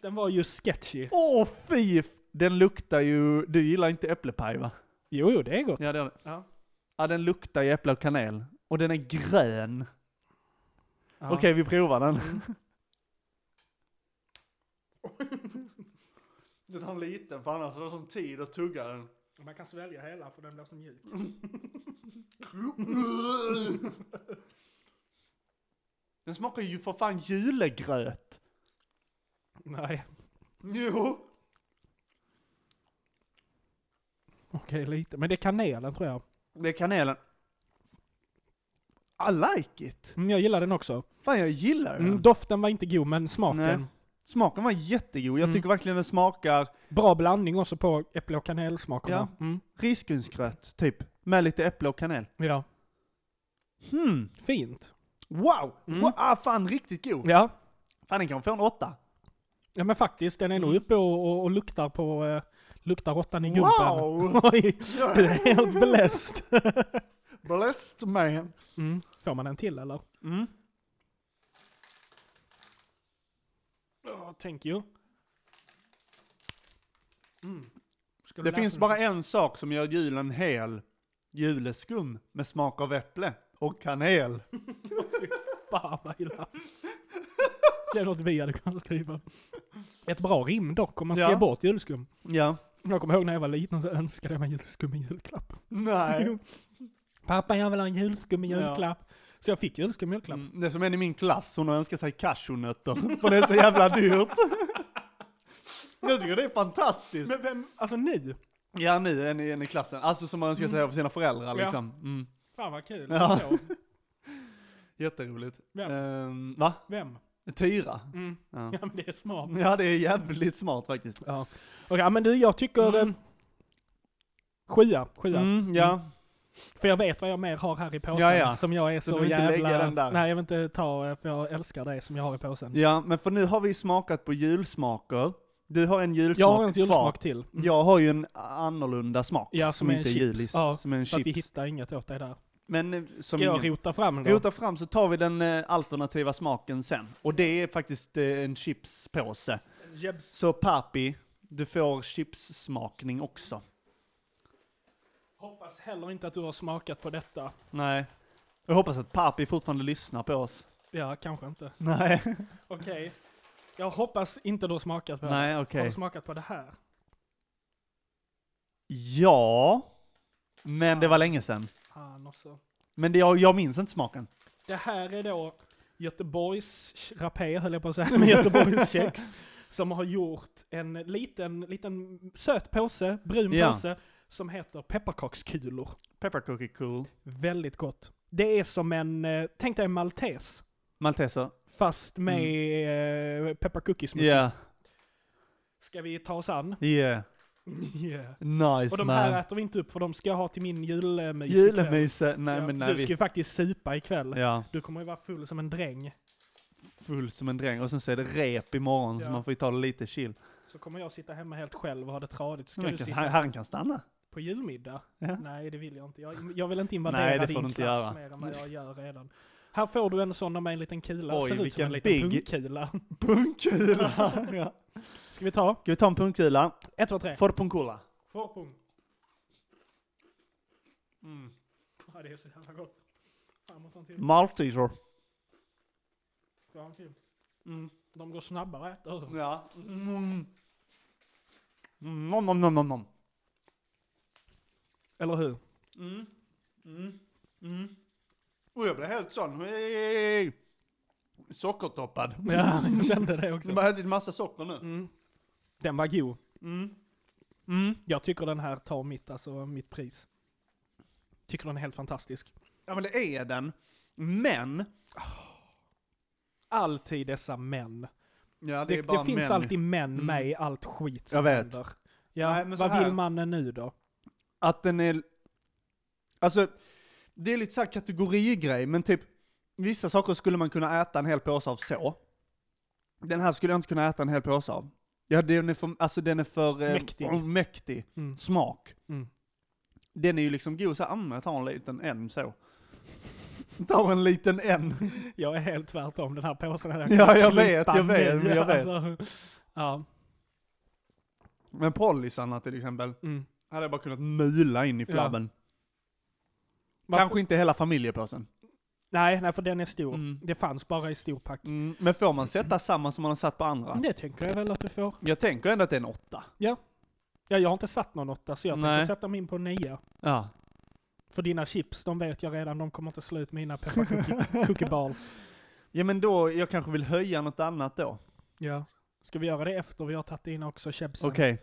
Speaker 2: Den var ju sketchy.
Speaker 1: Åh fy! f- Den luktar ju... Du gillar inte äpplepaj va?
Speaker 2: Jo, jo, det är gott.
Speaker 1: Ja, det gör den.
Speaker 2: Ja.
Speaker 1: Ja, den luktar ju äpple och kanel. Och den är grön. Okej, vi provar den.
Speaker 2: Mm.
Speaker 1: Du tar en liten för annars är det som tid att tugga den.
Speaker 2: Man kan svälja hela för den blir så mjuk.
Speaker 1: Den smakar ju för fan julegröt.
Speaker 2: Nej,
Speaker 1: Jo!
Speaker 2: okej lite. Men det är kanelen tror jag.
Speaker 1: Det är kanelen. I like it.
Speaker 2: Mm, jag gillar den också.
Speaker 1: Fan jag gillar den.
Speaker 2: Mm, doften var inte god, men smaken.
Speaker 1: Nej. Smaken var jättegod. Jag
Speaker 2: Mm.
Speaker 1: tycker verkligen den smakar
Speaker 2: Bra blandning också på äpple och kanelsmakerna. Ja. Mm,
Speaker 1: risgrynsgröt typ. Med lite äpple och kanel.
Speaker 2: ja.
Speaker 1: Hmm.
Speaker 2: Fint.
Speaker 1: Wow!
Speaker 2: Mm.
Speaker 1: Wow, ah, fan riktigt god.
Speaker 2: Ja.
Speaker 1: Fan den kan få en åtta.
Speaker 2: ja, men faktiskt. Den är nog uppe och, och, och luktar på... Eh, luktar råttan i gumpen.
Speaker 1: Wow!
Speaker 2: Oj, du är helt bläst.
Speaker 1: Blessed man.
Speaker 2: Mm. Får man en till eller?
Speaker 1: Mm.
Speaker 2: Oh, thank you. Mm. Ska du
Speaker 1: Det
Speaker 2: läsa
Speaker 1: finns
Speaker 2: den?
Speaker 1: bara en sak som gör julen hel. Juleskum med smak av äpple och kanel.
Speaker 2: Fan vad illa. Det är något vi hade kunnat skriva. Ett bra rim dock, om man ska
Speaker 1: Ja.
Speaker 2: ge bort julskum.
Speaker 1: Ja.
Speaker 2: Jag kommer ihåg när jag var liten så önskade jag mig julskum i julklapp.
Speaker 1: Nej. Mm,
Speaker 2: Jo. Pappa, jag vill ha en julskum i
Speaker 1: Ja.
Speaker 2: julklapp. Så jag fick julskum i julklapp.
Speaker 1: Mm, Det är som en i min klass, hon har önskat sig cashewnötter. För det är så jävla dyrt. Jag tycker det är fantastiskt.
Speaker 2: Men vem, alltså nu?
Speaker 1: Ja, nu en, i- en i klassen. Alltså som man önskar sig av sina föräldrar
Speaker 2: Mm. Ja.
Speaker 1: liksom. Mm.
Speaker 2: Fan vad kul.
Speaker 1: Ja.
Speaker 2: Då.
Speaker 1: Jätteroligt.
Speaker 2: Vem?
Speaker 1: Ehm, va?
Speaker 2: Vem?
Speaker 1: Tyra?
Speaker 2: Mm.
Speaker 1: Ja.
Speaker 2: Ja men det är smart.
Speaker 1: ja, det är jävligt smart faktiskt.
Speaker 2: Ja. Okej, men du jag tycker...
Speaker 1: Mm.
Speaker 2: Eh, sjua, sjua.
Speaker 1: Mm, ja.
Speaker 2: För jag vet vad jag mer har här i påsen
Speaker 1: Ja, ja.
Speaker 2: som jag är så,
Speaker 1: du vill inte
Speaker 2: jävla...
Speaker 1: lägga den där?
Speaker 2: Nej jag vill inte ta, eh, för jag älskar det som jag har i påsen.
Speaker 1: ja, men för nu har vi smakat på julsmaker. Du har en julsmak
Speaker 2: Jag har en
Speaker 1: kvar.
Speaker 2: julsmak till. Mm.
Speaker 1: Jag har ju en annorlunda smak.
Speaker 2: Ja, som är en
Speaker 1: inte är
Speaker 2: chips.
Speaker 1: julis.
Speaker 2: Ja,
Speaker 1: som är en
Speaker 2: För att vi
Speaker 1: chips.
Speaker 2: hittar inget åt dig där.
Speaker 1: Men eh, som
Speaker 2: Ska jag
Speaker 1: ingen...
Speaker 2: rota fram den då?
Speaker 1: Rota fram så tar vi den eh, alternativa smaken sen. Och det är faktiskt eh, en chipspåse.
Speaker 2: Jebs.
Speaker 1: Så Papi, du får chipssmakning också.
Speaker 2: Hoppas heller inte att du har smakat på detta.
Speaker 1: Nej. Jag hoppas att Papi fortfarande lyssnar på oss.
Speaker 2: Ja, kanske inte.
Speaker 1: Nej.
Speaker 2: Okej. Jag hoppas inte du har smakat på det.
Speaker 1: Nej,
Speaker 2: Har
Speaker 1: okej.
Speaker 2: du smakat på det här?
Speaker 1: Ja. Men det var länge sedan.
Speaker 2: Fan också.
Speaker 1: Men det, jag, jag minns inte smaken.
Speaker 2: Det här är då Göteborgs rapé, höll jag på att säga, men Göteborgs kex. Som har gjort en liten, liten söt påse, brun
Speaker 1: Ja.
Speaker 2: påse, som heter pepparkakskulor.
Speaker 1: Peppercookie cool.
Speaker 2: Väldigt gott. Det är som en, eh, tänk dig en maltes,
Speaker 1: Malteser.
Speaker 2: fast med mm. pepparcookies.
Speaker 1: Ja. Yeah.
Speaker 2: Ska vi ta oss an?
Speaker 1: Yeah.
Speaker 2: Yeah.
Speaker 1: Nice
Speaker 2: Och de
Speaker 1: man.
Speaker 2: här äter vi inte upp för de ska jag ha till min julmys ikväll.
Speaker 1: Julemyse. Nej
Speaker 2: Ja,
Speaker 1: men
Speaker 2: Du
Speaker 1: nej
Speaker 2: ska
Speaker 1: vi...
Speaker 2: ju faktiskt supa ikväll.
Speaker 1: Ja.
Speaker 2: Du kommer ju vara full som en dräng.
Speaker 1: Full som en dräng. Och sen så är det rep imorgon så
Speaker 2: Ja.
Speaker 1: man får ju ta det lite chill.
Speaker 2: Så kommer jag sitta hemma helt själv och ha det tradigt. Ska
Speaker 1: Men
Speaker 2: du
Speaker 1: kan-
Speaker 2: sitta
Speaker 1: han, han kan stanna.
Speaker 2: på julmiddag?
Speaker 1: Ja.
Speaker 2: Nej, det vill jag inte. Jag, jag vill inte invadera
Speaker 1: Nej, det får
Speaker 2: din
Speaker 1: du inte
Speaker 2: klass
Speaker 1: göra.
Speaker 2: mer än vad jag gör redan. Här får du en sån med en liten kula.
Speaker 1: Oj,
Speaker 2: Ser ut som
Speaker 1: vilken
Speaker 2: en liten
Speaker 1: big-
Speaker 2: punkkula.
Speaker 1: Punkkula! ja.
Speaker 2: Ska vi ta?
Speaker 1: Ska vi ta en punkkula?
Speaker 2: Ett, två, tre.
Speaker 1: Får punkkula?
Speaker 2: Förpung. Mm. Ja, det är så jävla gott. Fan, jag måste ha en till.
Speaker 1: Malteser.
Speaker 2: Ska jag ha en till?
Speaker 1: Mm.
Speaker 2: De går snabbare att äta ur.
Speaker 1: Ja. Mm. Mm, Nom, nom, nom, nom, nom.
Speaker 2: Eller hur?
Speaker 1: Mm. Mm. Mm. Och jag blev helt sån. Hej! Sockertoppad.
Speaker 2: Ja, jag kände det
Speaker 1: Jag har
Speaker 2: också.
Speaker 1: bara ätit massa socker nu.
Speaker 2: Mm. Den var god.
Speaker 1: Mm. Mm.
Speaker 2: Jag tycker den här tar mitt, alltså, mitt pris. Tycker den är helt fantastisk.
Speaker 1: Ja men det är den. Men,
Speaker 2: Alltid dessa män.
Speaker 1: Ja,
Speaker 2: Det,
Speaker 1: det, är
Speaker 2: det,
Speaker 1: bara
Speaker 2: finns
Speaker 1: män.
Speaker 2: alltid män
Speaker 1: Mm.
Speaker 2: med i allt skit som
Speaker 1: Jag vet.
Speaker 2: händer. Ja,
Speaker 1: Nej, men så
Speaker 2: vad
Speaker 1: här.
Speaker 2: vill mannen nu då?
Speaker 1: Att den är... Alltså, det är lite så här kategorigrej, men typ vissa saker skulle man kunna äta en hel påse av så. Den här skulle jag inte kunna äta en hel påse av. Ja, den är för, alltså den är för eh,
Speaker 2: Mäktig.
Speaker 1: oh, mäktig.
Speaker 2: Mm.
Speaker 1: Smak.
Speaker 2: Mm.
Speaker 1: Den är ju liksom god så här, "Ah, men jag tar en liten en så. Ta en liten en.
Speaker 2: Jag är helt tvärtom, den här påsen hade
Speaker 1: Ja, jag
Speaker 2: kunnat
Speaker 1: vet,
Speaker 2: klippa
Speaker 1: jag vet,
Speaker 2: nu,
Speaker 1: men jag vet.
Speaker 2: alltså. ja,
Speaker 1: Men pollisarna till exempel,
Speaker 2: mm.
Speaker 1: hade jag bara kunnat mula in i
Speaker 2: Ja.
Speaker 1: flabben.
Speaker 2: Man
Speaker 1: Kanske
Speaker 2: får-
Speaker 1: inte hela familjepåsen.
Speaker 2: Nej, nej, för den är stor.
Speaker 1: Mm.
Speaker 2: Det fanns bara i storpack.
Speaker 1: Mm, men får man sätta samma som man har satt på andra?
Speaker 2: Men Det tänker jag väl att du får.
Speaker 1: Jag tänker ändå att det är en åtta.
Speaker 2: Ja, jag har inte satt någon åtta, så jag
Speaker 1: Nej.
Speaker 2: tänker sätta min på nia.
Speaker 1: Ja.
Speaker 2: För dina chips, de vet jag redan, de kommer inte slå ut mina pepparcookie- cookie balls.
Speaker 1: Ja men då, jag kanske vill höja något annat då.
Speaker 2: Ja. Ska vi göra det efter vi har tagit in också chipsen?
Speaker 1: Okej.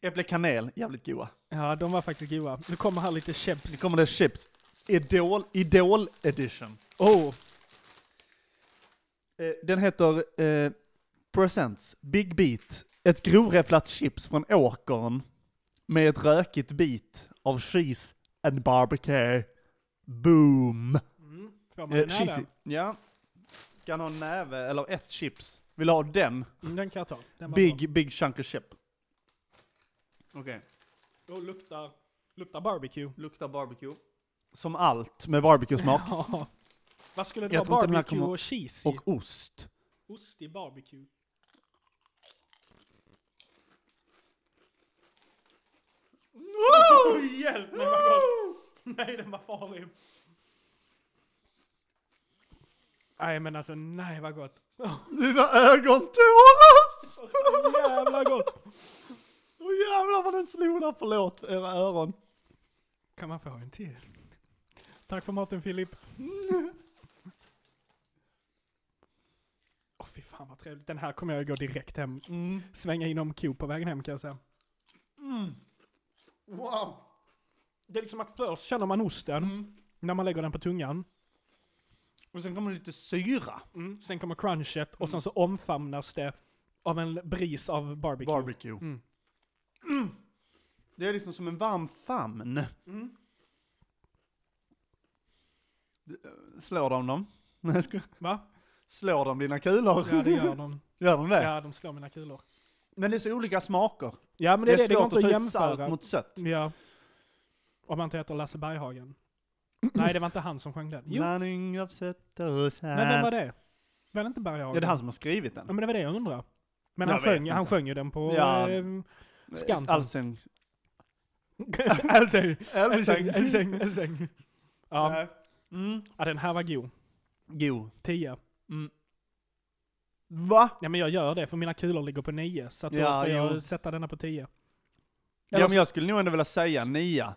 Speaker 1: Äpple kanel, jävligt goa.
Speaker 2: Ja, de var faktiskt goda. Nu kommer här lite
Speaker 1: Nu
Speaker 2: chips.
Speaker 1: kommer det chips. Idol, Idol edition.
Speaker 2: Oh,
Speaker 1: Eh, Den heter eh, Presents Big Beat. Ett grovräfflat chips från åkern med ett rökigt bit av cheese and barbecue. Boom!
Speaker 2: Mm, får man
Speaker 1: Eh,
Speaker 2: en näve?
Speaker 1: cheesy. Ja. Kan ha en näve eller ett chips. Vill du ha den?
Speaker 2: Mm, Den kan jag ta. Den var
Speaker 1: Big, big chunker chip. Okej.
Speaker 2: bra. Och luktar, luktar barbecue.
Speaker 1: Luktar barbecue. Som allt med barbecue-smak.
Speaker 2: Ja. Vad skulle det
Speaker 1: Jag
Speaker 2: vara?
Speaker 1: tror inte den här
Speaker 2: Barbecue
Speaker 1: kommer-
Speaker 2: och cheese i?
Speaker 1: Och ost.
Speaker 2: Ost i barbecue. Oh, hjälp mig vad gott! Nej, den var farlig. Nej, men alltså nej vad gott. Oh, Åh,
Speaker 1: Dina ögon tåras!
Speaker 2: så jävla gott!
Speaker 1: Åh jävlar vad den slog där, förlåt era öron.
Speaker 2: Kan man få en till? Tack för maten Filip. Åh fy fan vad trevligt. Den här kommer jag gå direkt hem.
Speaker 1: Mm.
Speaker 2: Svänga inom Coop på vägen hem kan jag säga.
Speaker 1: Wow!
Speaker 2: Det är liksom att först känner man osten, när man lägger den på tungan.
Speaker 1: Mm. Och sen kommer det lite syra.
Speaker 2: Sen kommer crunchet och sen så omfamnas det av en bris av barbecue.
Speaker 1: Barbecue. Mm. Det är liksom som en varm famn. Det, eh, Slår de dem? Nej, jag skojar.
Speaker 2: Va?
Speaker 1: Slår de dina kulor?
Speaker 2: Ja det gör de.
Speaker 1: Gör de det?
Speaker 2: Ja de slår mina kulor.
Speaker 1: Men det är så olika smaker.
Speaker 2: Ja men det är det, det går
Speaker 1: svårt
Speaker 2: inte att
Speaker 1: ta ut salt
Speaker 2: jämföra.
Speaker 1: mot sött.
Speaker 2: Ja. Om man inte heter Lasse Berghagen. Nej det var inte han som sjöng den. Jo,
Speaker 1: Blandning av sött och salt.
Speaker 2: men vem var det? Var det inte Berghagen?
Speaker 1: Ja, det är han som har skrivit
Speaker 2: Ja
Speaker 1: den.
Speaker 2: men det var det jag undrade. Men
Speaker 1: Jag
Speaker 2: han
Speaker 1: vet
Speaker 2: sjöng,
Speaker 1: inte.
Speaker 2: han sjöng ju den på...
Speaker 1: Ja.
Speaker 2: ehm, Skansen.
Speaker 1: Allsång.
Speaker 2: Älsäng,
Speaker 1: Allsång.
Speaker 2: älsäng, älsäng, älsäng. Ja.
Speaker 1: Nej. Mm.
Speaker 2: ja, den här var god.
Speaker 1: Jo.
Speaker 2: 10.
Speaker 1: Va?
Speaker 2: Ja men jag gör det för mina kulor ligger på 9 så att då
Speaker 1: Ja,
Speaker 2: får
Speaker 1: jo.
Speaker 2: jag sätta denna på 10.
Speaker 1: Ja, men jag skulle nog ändå vilja säga nia.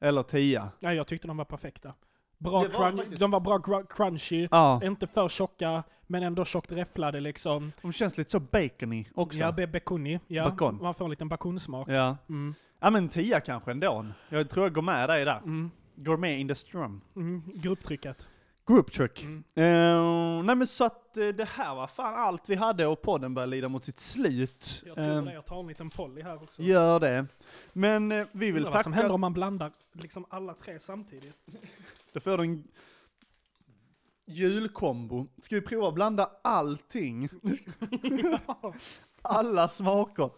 Speaker 1: Eller tia.
Speaker 2: Nej jag tyckte de var perfekta. Bra
Speaker 1: Det var
Speaker 2: crunch,
Speaker 1: faktiskt-
Speaker 2: de var bra gru- crunchy,
Speaker 1: Ja.
Speaker 2: inte för tjocka men ändå tjockt räfflade liksom.
Speaker 1: De känns lite så bacony också.
Speaker 2: Ja, be- baconi. Ja,
Speaker 1: Bacon.
Speaker 2: man får en liten baconsmak.
Speaker 1: ja.
Speaker 2: Mm.
Speaker 1: Ja, men tia kanske ändå. Jag tror jag går med dig där.
Speaker 2: Mm.
Speaker 1: Går med in the strum.
Speaker 2: Mm. Grupptrycket.
Speaker 1: Group trick.
Speaker 2: Mm.
Speaker 1: Eh, nej men så att eh, det här var fan allt vi hade och podden börjar lida mot sitt slut.
Speaker 2: Jag tror
Speaker 1: Eh,
Speaker 2: det, jag tar en liten poly här också.
Speaker 1: Gör det. Men eh, vi vill
Speaker 2: Undrar vad som händer
Speaker 1: tacka...
Speaker 2: om man blandar liksom alla tre samtidigt.
Speaker 1: Då får du en julkombo. Ska vi prova att blanda allting?
Speaker 2: ja.
Speaker 1: Alla smaker.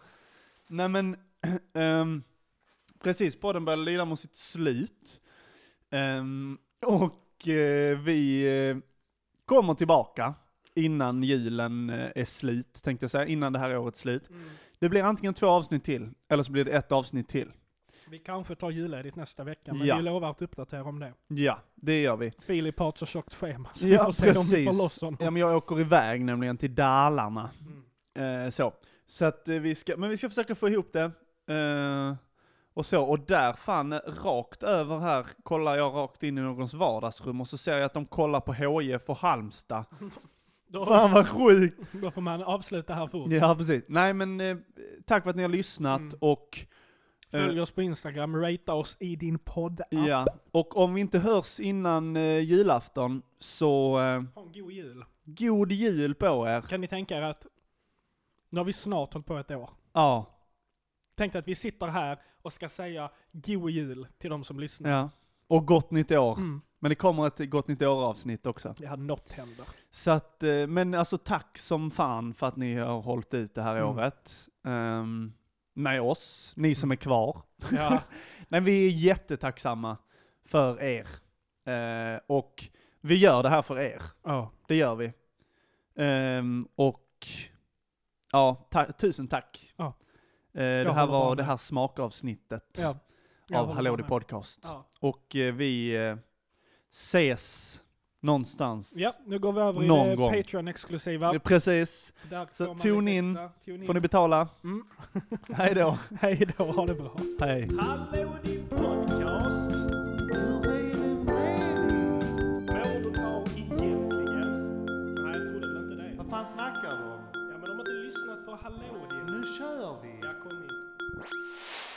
Speaker 1: Nej men, ehm, precis, podden börjar lida mot sitt slut. Ehm, och eh, vi eh, kommer tillbaka innan julen eh, är slut, tänkte jag säga, innan det här årets slut.
Speaker 2: mm.
Speaker 1: Det blir antingen två avsnitt till, eller så blir det ett avsnitt till.
Speaker 2: Vi kanske tar julledigt nästa vecka men
Speaker 1: Ja.
Speaker 2: vi lovar att uppdatera om det.
Speaker 1: Ja, det gör vi.
Speaker 2: Filip har ett så tjockt schema så vi
Speaker 1: Ja,
Speaker 2: får se om vi får loss honom.
Speaker 1: Ja, men jag åker iväg nämligen till Dalarna.
Speaker 2: Mm.
Speaker 1: Eh, så. Så att eh, vi ska, men vi ska försöka få ihop det. Eh, och så, och där fan eh, rakt över här kollar jag rakt in i någons vardagsrum och så ser jag att de kollar på HIF och Halmstad.
Speaker 2: Då-
Speaker 1: Fan vad sjukt!
Speaker 2: Då får man avsluta här fort.
Speaker 1: Ja precis. Nej men eh, tack för att ni har lyssnat
Speaker 2: Mm.
Speaker 1: och
Speaker 2: Följ oss på Instagram, ratea oss i din podd.
Speaker 1: Ja, och om vi inte hörs innan eh, julafton så eh,
Speaker 2: Ha en god jul.
Speaker 1: god jul på er.
Speaker 2: Kan ni tänka er att nu har vi snart hållit på ett år.
Speaker 1: Ja,
Speaker 2: Tänk dig att vi sitter här och ska säga god jul till de som lyssnar.
Speaker 1: ja. Och gott nytt år.
Speaker 2: Mm.
Speaker 1: Men det kommer ett gott nytt år avsnitt också.
Speaker 2: Ja, något händer.
Speaker 1: Så att, eh, men alltså tack som fan för att ni har hållit ut det här
Speaker 2: Mm.
Speaker 1: året. Ehm, med oss, ni som är kvar.
Speaker 2: Ja,
Speaker 1: Nej, vi är jättetacksamma för er. Eh, och vi gör det här för er.
Speaker 2: ja.
Speaker 1: Det gör vi. Ehm, och ja, ta- tusen tack.
Speaker 2: Ja.
Speaker 1: Eh, det
Speaker 2: Jag
Speaker 1: här
Speaker 2: håller bara
Speaker 1: var
Speaker 2: med.
Speaker 1: det här smakavsnittet
Speaker 2: ja. Jag
Speaker 1: av
Speaker 2: håller
Speaker 1: Hallå det
Speaker 2: med.
Speaker 1: podcast.
Speaker 2: Ja.
Speaker 1: Och eh, vi eh, ses någonstans.
Speaker 2: ja, nu går vi över i
Speaker 1: Någon
Speaker 2: det
Speaker 1: gång.
Speaker 2: Patreon-exklusiva.
Speaker 1: Precis.
Speaker 2: Där
Speaker 1: Så
Speaker 2: får man
Speaker 1: tune
Speaker 2: lite
Speaker 1: in.
Speaker 2: extra. Tune
Speaker 1: Får ni
Speaker 2: in.
Speaker 1: betala?
Speaker 2: Mm.
Speaker 1: Hej då.
Speaker 2: Hej då, ha det bra.
Speaker 1: Hej.
Speaker 4: Hallå din podcast! Mår du bra egentligen?
Speaker 2: Nej, jag trodde väl inte det.
Speaker 1: fan snackar du om?
Speaker 2: Ja, men de har inte lyssnat på Hallå din.
Speaker 1: Nu kör vi!
Speaker 2: Ja, kom in.